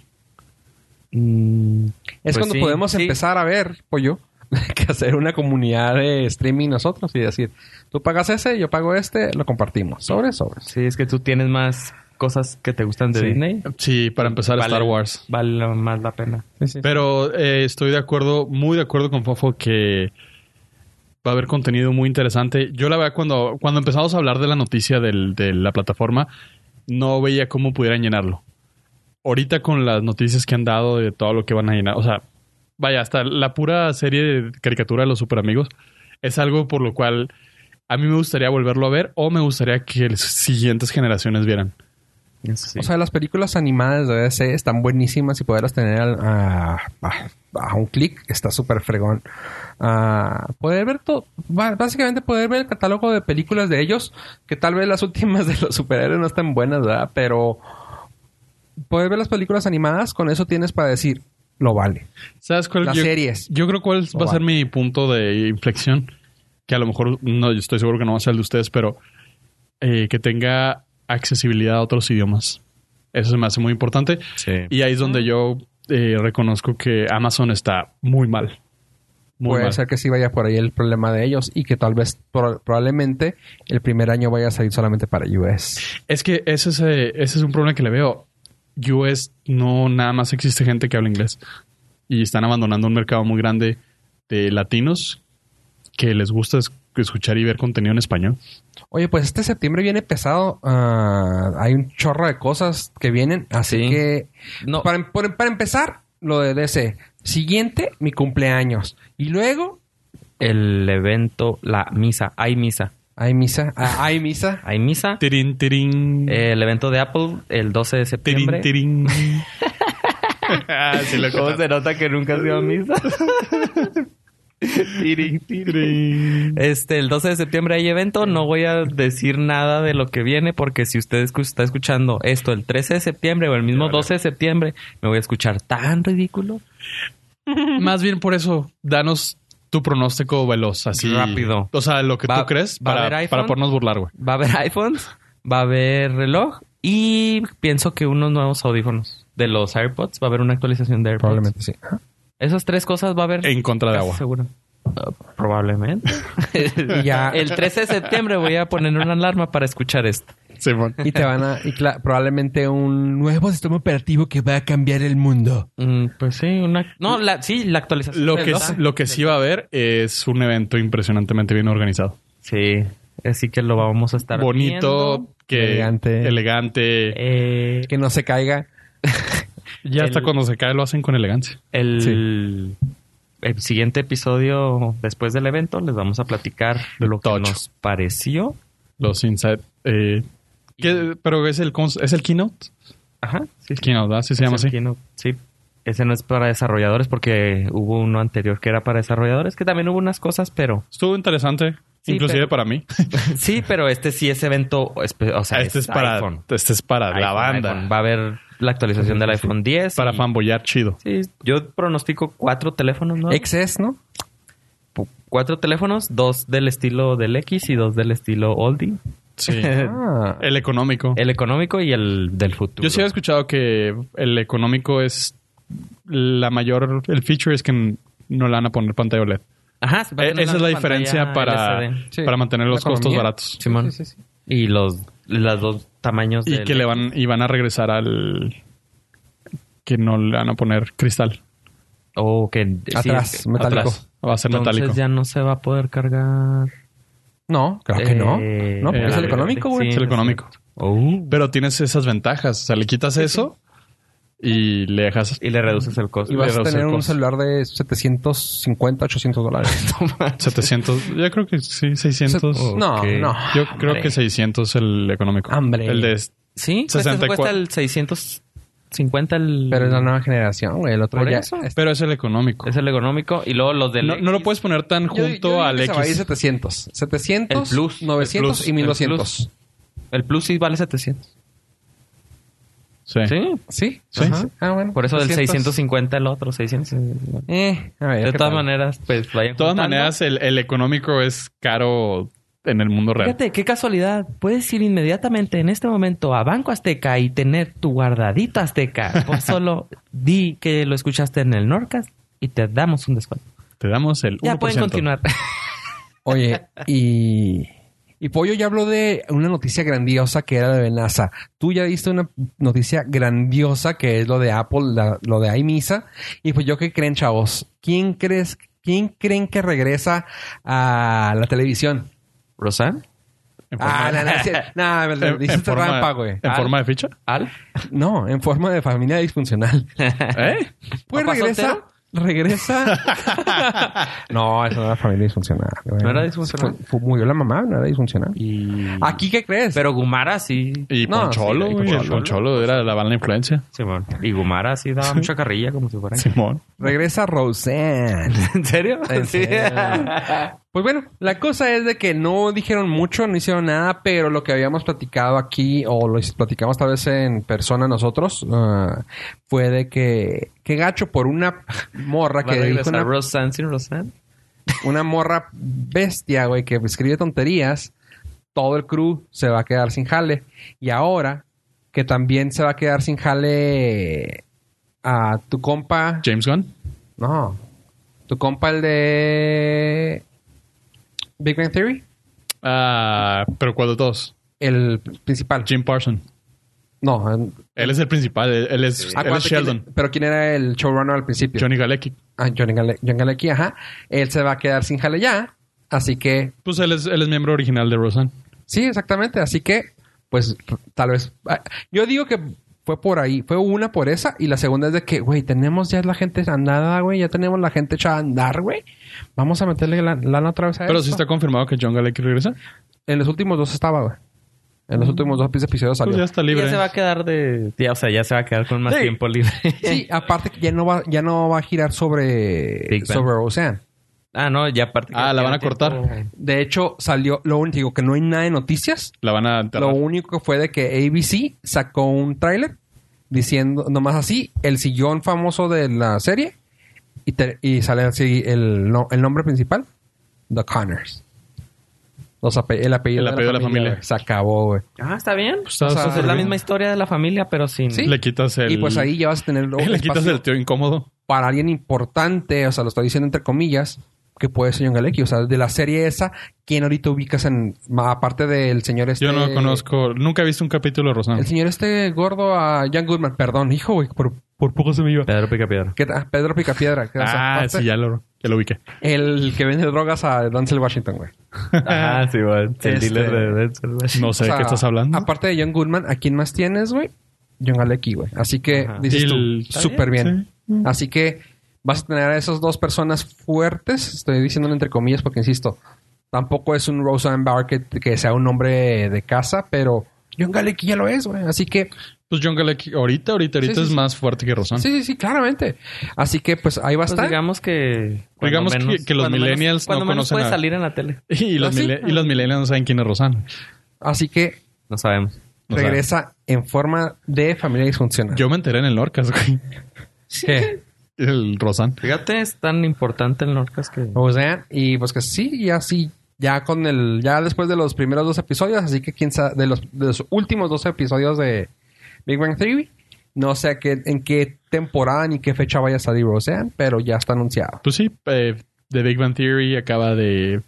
Es Pues cuando sí, podemos sí. empezar a ver, pollo, que hacer una comunidad de streaming nosotros y decir, tú pagas ese, yo pago este, lo compartimos. Sobre, sobre. Sí, es que tú tienes más cosas que te gustan de Sí. Disney. Sí, para empezar Vale- Star Wars. Vale más la pena. Pero eh, estoy de acuerdo, muy de acuerdo con Fofo que va a haber contenido muy interesante. Yo la verdad cuando, cuando empezamos a hablar de la noticia del- de la plataforma, no veía cómo pudieran llenarlo. Ahorita con las noticias que han dado de todo lo que van a llenar, o sea, vaya, hasta la pura serie de caricatura de los superamigos es algo por lo cual a mí me gustaría volverlo a ver o me gustaría que las siguientes generaciones vieran. O sea, las películas animadas de DC están buenísimas y poderlas tener al- a, a- a un clic está súper fregón. Ah, poder ver todo, ba- básicamente poder ver el catálogo de películas de ellos, que tal vez las últimas de los superhéroes no están buenas, ¿verdad? Pero poder ver las películas animadas, con eso tienes para decir, lo vale. ¿Sabes cuál? Las yo, series. Yo creo cuál va a ser vale. mi punto de inflexión. Que a lo mejor, no, yo estoy seguro que no va a ser el de ustedes, pero eh, que tenga accesibilidad a otros idiomas. Eso se me hace muy importante. Sí. Y ahí es donde yo eh, reconozco que Amazon está muy mal. Muy Puede mal. ser que sí vaya por ahí el problema de ellos y que tal vez pro- probablemente el primer año vaya a salir solamente para US. Es que ese es, eh, ese es un problema que le veo. US no nada más existe gente que habla inglés. Y están abandonando un mercado muy grande de latinos que les gusta es- escuchar y ver contenido en español. Oye, pues este septiembre viene pesado. ah, hay un chorro de cosas que vienen. Así Sí. que, No. para, em- por- para empezar, lo de DC. Siguiente, mi cumpleaños. Y luego, El evento, la misa. Hay misa. hay misa. Ah, hay misa. Hay misa. Tirín, tirín. Eh, El evento de Apple el 12 de septiembre. Mm. Tirín, tirín. Ah, sí, lo ¿Cómo se nota que nunca has ido a misa? Tiri, tiri. Este, el 12 de septiembre hay evento. No voy a decir nada de lo que viene porque si usted escu- está escuchando esto el 13 de septiembre o el mismo 12 de septiembre, me voy a escuchar tan ridículo. Más bien por eso, danos tu pronóstico veloz, así. Rápido. O sea, lo que Va- tú crees va a para, haber iPhone. para podernos burlar, güey. Va a haber iPhones, va a haber reloj y pienso que unos nuevos audífonos de los AirPods. Va a haber una actualización de AirPods. Probablemente sí. Esas tres cosas va a haber. En contra de agua. Pues, Seguro. Ah, probablemente. Y ya el 13 de septiembre voy a poner una alarma para escuchar esto. Simón. Y te van a... Y cla- probablemente un nuevo sistema operativo que va a cambiar el mundo. Mm, pues sí, una. No, la, sí, la actualización. Lo del que, 12. lo que sí va a haber es un evento impresionantemente bien organizado. Sí, así que lo vamos a estar. Bonito, viendo. que Elegante. elegante. Eh, Que no se caiga. ya hasta el- cuando se cae lo hacen con elegancia. el, el siguiente episodio después del evento les vamos a platicar de lo que Tocho. nos pareció. Los inside. eh, ¿qué- pero es el cons- es el keynote. Ajá, sí, sí. Keynote, ¿verdad? Sí se llama Ese así. aquí no- sí. Ese no es para desarrolladores porque hubo uno anterior que era para desarrolladores, que también hubo unas cosas, pero Estuvo interesante, Sí, inclusive pero- para mí. sí, pero este sí es evento, espe- o sea, este es, para, iPhone. este es para la iPhone, banda. iPhone. Va a haber la actualización del iPhone 10. Para y- fanboyar chido. Sí, yo pronostico cuatro teléfonos, ¿no? Exes, ¿no? Pu- cuatro teléfonos, dos del estilo del X y dos del estilo oldie. Sí. Ah. el económico. El económico y el del futuro. Yo sí había escuchado que el económico es la mayor. El feature es que n- no le van a poner pantalla OLED. Ajá, va a E- tener esa es la pantalla diferencia para, LCD. Sí. para mantener los La costos economía. baratos. Simón. Sí, sí, sí. Y los, los dos tamaños Y del- que le van, y van a regresar al que no le van a poner cristal. Oh, que Atrás, sí, metálico. atrás. Va a ser Entonces metálico. ya no se va a poder cargar. No, creo que no. Eh, No, porque es el eh, económico, güey. Es el económico. Oh. Pero tienes esas ventajas. O sea, le quitas eso y le dejas. Y le reduces el costo. Y vas a Pero tener son un cosas. celular de 750, 800 dólares. 700. Yo creo que sí, 600. No, no. Yo creo Hombre. que 600 el económico. Hombre. El de este. Sí, cuesta, eso 64. cuesta el 650 el... Pero es la nueva generación, güey. El otro Por ya. eso. Pero es el económico. Es el económico y luego los del... No, no lo puedes poner tan Yo- junto yo digo al que Se va a ir X. 700. 700, El plus, 900 el plus, y el 1200. El Plus sí vale 700. Sí. Sí. ¿Sí? Sí. Ajá. Ah, bueno. Por eso del 300. 650 el otro, 600. Eh, a ver. De ¿qué todas tal? maneras, pues vayan De todas juntando. maneras, el, el económico es caro en el mundo real. Fíjate, qué casualidad. Puedes ir inmediatamente en este momento a Banco Azteca y tener tu guardadito Azteca. Pues Por solo di que lo escuchaste en el Norcas y te damos un descuento. Te damos el 1%. Ya pueden continuar. Oye, y. Y Pollo ya habló de una noticia grandiosa que era la de NASA. Tú ya diste una noticia grandiosa que es lo de Apple, la- lo de iMisa. Y pues yo qué creen, chavos. ¿Quién crees, quién creen que regresa a la televisión? ¿Rosan? En forma, Ah, no, no, es cierto. no, me lo en- en dijiste forma- rampa, güey. Ah, ¿En Ah. forma de ficha? ¿Al? No, en forma de familia disfuncional. ¿Eh? Pues ¿Papá regresa. soltero? Regresa. no, eso no era familia disfuncional. güey. No era disfuncional. Fue- fue- murió la mamá, no era disfuncional. Y... ¿Aquí qué crees? Pero Gumara sí. Y No, Poncholo, sí, y güey. El Poncholo. Poncholo era la mala influencia. Simón. Y Gumara sí daba mucha carrilla como si fuera. Eh, Simón. Regresa Roseanne. ¿En serio? En Sí. serio. Pues bueno, la cosa es de que no dijeron mucho, no hicieron nada, pero lo que habíamos platicado aquí, o lo platicamos tal vez en persona nosotros, ah, fue de que, que gacho por una morra ¿Va a que dijo regresar una, Rosan sin Rosan? una morra bestia, güey, que escribe tonterías, todo el crew se va a quedar sin jale. Y ahora, que también se va a quedar sin jale a tu compa. James Gunn. No. Tu compa el de Big Bang Theory, Ah, pero ¿cuál de todos? el principal. Jim Parson. No, en- Él es el principal. Él, él es, él es acuérdate Sheldon. quién- pero quién era el showrunner al principio? Johnny Galecki. Ah, Johnny Gale- John Galecki, ajá. Él se va a quedar sin jale ya, así que Pues él es, él es miembro original de Roseanne. Sí, exactamente. Así que, pues, tal vez. ah, Yo digo que fue por ahí. Fue una por esa. Y la segunda es de que, güey, tenemos ya la gente andada, güey. Ya tenemos la gente echada a andar, güey. Vamos a meterle la- lana otra vez a Pero esto. sí está confirmado que John Galecki regresa. Pues En los últimos dos estaba, güey. En los últimos dos episodios Mm. Pues ya salió. está libre. Ya se va a quedar de... Ya, o sea, ya se va a quedar con más Sí. tiempo libre. Sí, aparte que ya no va, ya no va a girar sobre, Big Bang. sobre Ocean. Ah, no, ya aparte. Ah, la van a cortar. De hecho, salió lo único digo, que no hay nada de noticias. La van a Lo enterrar. único que fue de que ABC sacó un tráiler diciendo nomás así el sillón famoso de la serie y, te- y sale así el, no- el nombre principal, The Connors. Los ape- el apellido, El apellido de la familia. güey. Se acabó, güey. Ah, está bien. Pues está- o sea, está Pues es la bien. misma historia de la familia, pero sin. Sí. Mm. Le quitas el. Y pues ahí ya vas a tener luego Le quitas espacio el tío incómodo. para alguien importante, o sea, lo estoy diciendo entre comillas, que puede ser John Galecki. O sea, de la serie esa, ¿quién ahorita ubicas en. ma- Aparte del señor este. Yo no conozco. Nunca he visto un capítulo de Rosanna. El señor este gordo a Jan Goodman, perdón, hijo, güey, por, por poco se me iba. Pedro pica piedra. Que- ah, Pedro Picapiedra. que, o sea, Ah, aparte, sí, ya lo, ya lo ubiqué. El que vende drogas a Denzel Washington, güey. Ah, sí, va. El Este- dealer de Denzel Washington. No sé O sea, de qué estás hablando. Aparte de John Goodman, ¿a quién más tienes, güey? John Galecki, güey. Así que dices El- tú, súper bien. sí. Así que vas a tener a esas dos personas fuertes. Estoy diciéndolo entre comillas porque, insisto, tampoco es un Roseanne Barr que, que sea un hombre de casa, pero John Galecki ya lo es, güey. Así que, Pues John Galecki, ahorita, ahorita, ahorita Sí, sí, es sí. más fuerte que Rosanna. sí, sí, sí, claramente. Así que, pues ahí va a Pues estar. digamos que. cuando Digamos que- que los cuando menos- millennials no cuando menos conocen puede a- salir en la tele. Y, los ¿Ah, sí? mile- y los millennials no saben quién es Rosanna. Así que No sabemos. O sea, regresa en forma de familia disfuncional. Yo me enteré en el Lorcas, güey. ¿Qué? El Rosan. Fíjate, es tan importante el Norcas que. O sea, y pues que sí, ya sí, ya con el, ya después de los primeros dos episodios, así que quién sabe, de los, de los últimos dos episodios de Big Bang Theory, no sé a qué- en qué temporada ni qué fecha vaya a salir Roseanne, pero ya está anunciado. Pues sí, eh, The Big Bang Theory acaba de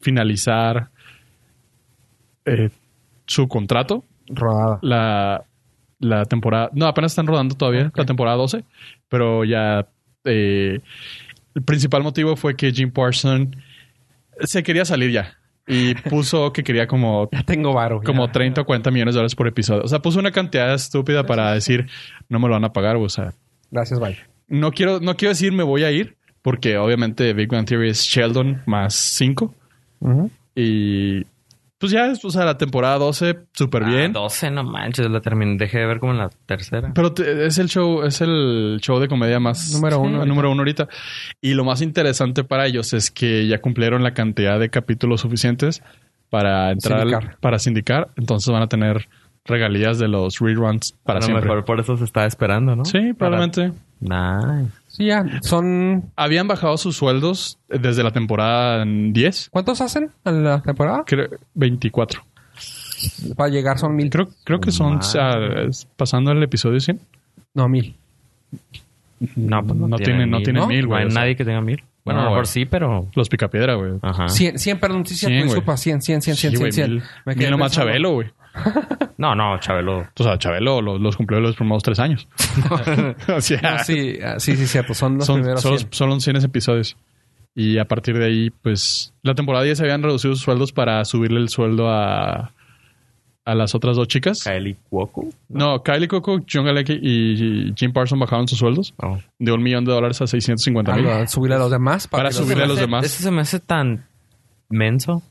finalizar eh, su contrato. Rodada. La, la temporada. No, apenas están rodando todavía la temporada 12, pero ya. eh, el principal motivo fue que Jim Parson se quería salir ya y puso que quería como Ya tengo varo. ya. como 30 o 40 millones de dólares por episodio. O sea, puso una cantidad estúpida para decir, no me lo van a pagar, o sea, Gracias, bye. no quiero, no quiero decir me voy a ir, porque obviamente Big Bang Theory es Sheldon más 5. Y pues ya, o sea, la temporada 12, súper Ah, bien. 12, no manches, la terminé. Dejé de ver como en la tercera. Pero te- es el show, es el show de comedia más Número uno. Sí, número uno ahorita. Y lo más interesante para ellos es que ya cumplieron la cantidad de capítulos suficientes para entrar al- Sindicar. para sindicar. Entonces van a tener regalías de los reruns para A lo siempre. mejor por eso se está esperando, ¿no? Sí, probablemente. Nice. Sí, ya, son, Habían bajado sus sueldos desde la temporada en 10, ¿cuántos hacen en la temporada? creo, 24. Para llegar son mil. Creo, creo que son, o sea, es- pasando el episodio 100, No, mil. No, pues No tienen- no mil. tienen ¿No? mil, güey, No hay o sea. nadie que tenga mil. Bueno, a No, lo mejor güey. sí, pero. los picapiedra, güey. Ajá. Cien, cien, perdón, sí, cierto, Ah. Cien, güey. disculpa, cien, cien, cien, cien, Sí, güey, cien, cien. mil- Me quedé mil nomás pensando. Chabelo, güey. No, no, Chabelo. O sea, Chabelo los, los cumplió los primeros tres años. o sea, Ah, sí, ah, sí, sí, cierto. Son los son, primeros son, los, cien. son los 100 episodios. Y a partir de ahí, pues, la temporada 10 habían reducido sus sueldos para subirle el sueldo a, a las otras dos chicas. Kylie Cuoco. No, Kylie Coco, John Galecki y Jim Parson bajaron sus sueldos Oh. de un millón de dólares a 650 Ah, mil. no, subirle a los demás Para que subirle a los Se me hace- demás. Eso se me hace tan menso.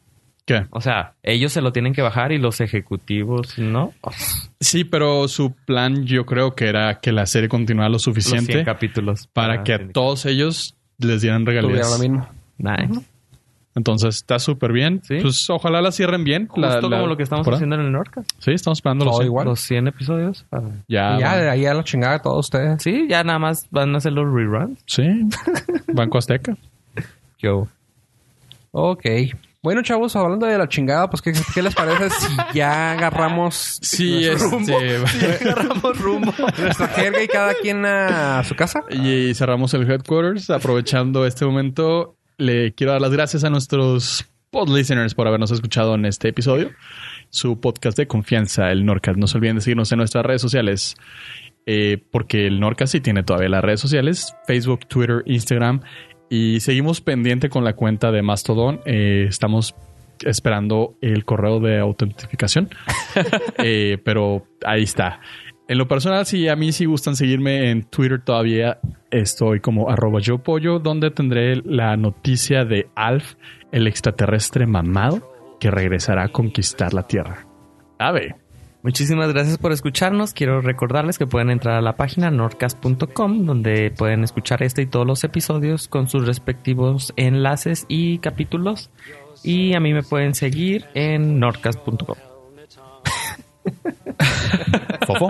¿Qué? O sea, ellos se lo tienen que bajar y los ejecutivos, ¿no? Sí, pero su plan yo creo que era que la serie continuara lo Los 100 suficiente capítulos. Ah, para que a sindicar. todos ellos les dieran Tuviera regalías. lo mismo. Nice. Entonces está súper bien. Sí. Pues ojalá la cierren bien. Justo la- la como lo que estamos temporada. haciendo en el Norca. Sí, estamos esperando los Todo cien. Oh, igual. Los 100 episodios. para- Ya, y ya, van- de ahí a la chingada de todos ustedes. Sí, ya nada más van a hacer los reruns. Sí. Banco Azteca. Yo. Ok. Bueno, chavos, hablando de la chingada, pues, ¿qué, qué les parece si ya agarramos Sí, eh. este, Agarramos rumbo. nuestra jerga y cada quien a su casa? Y cerramos el headquarters. Aprovechando este momento, le quiero dar las gracias a nuestros pod listeners por habernos escuchado en este episodio. Su podcast de confianza, el Norcas. No se olviden de seguirnos en nuestras redes sociales. eh, porque el Norcas sí tiene todavía las redes sociales: Facebook, Twitter, Instagram. Y seguimos pendiente con la cuenta de Mastodon. Eh, estamos esperando el correo de autentificación. Eh, pero ahí está. En lo personal, si a mí si gustan seguirme en Twitter todavía, estoy como arroba yo pollo, donde tendré la noticia de Alf, el extraterrestre mamado, que regresará a conquistar la Tierra. Ave. Muchísimas gracias por escucharnos. Quiero recordarles que pueden entrar a la página norcas.com donde pueden escuchar este y todos los episodios con sus respectivos enlaces y capítulos. Y a mí me pueden seguir en norcas.com. Fofo.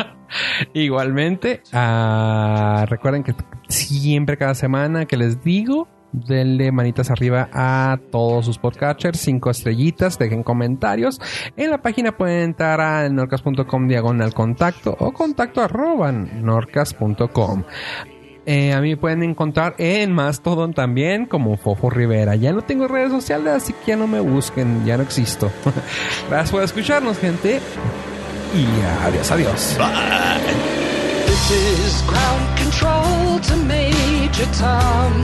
Igualmente, ah, recuerden que siempre cada semana que les digo, denle manitas arriba a todos sus podcatchers, cinco estrellitas, dejen comentarios. En la página pueden entrar a norcas.com diagonal contacto o contacto arroba norcas.com. Eh, a mí me pueden encontrar en Mastodon también como Fofo Rivera. Ya no tengo redes sociales, así que ya no me busquen, ya no existo. Gracias por escucharnos, gente. Y adiós, adiós. This is ground control to Major Tom.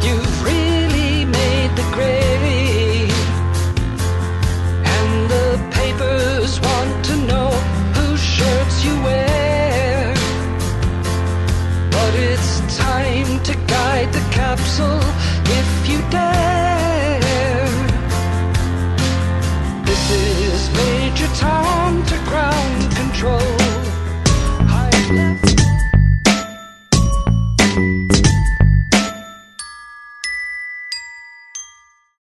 You've really made the grade. And the papers want to know whose shirts you wear. But it's time to guide the capsule if you dare. This is Major Tom.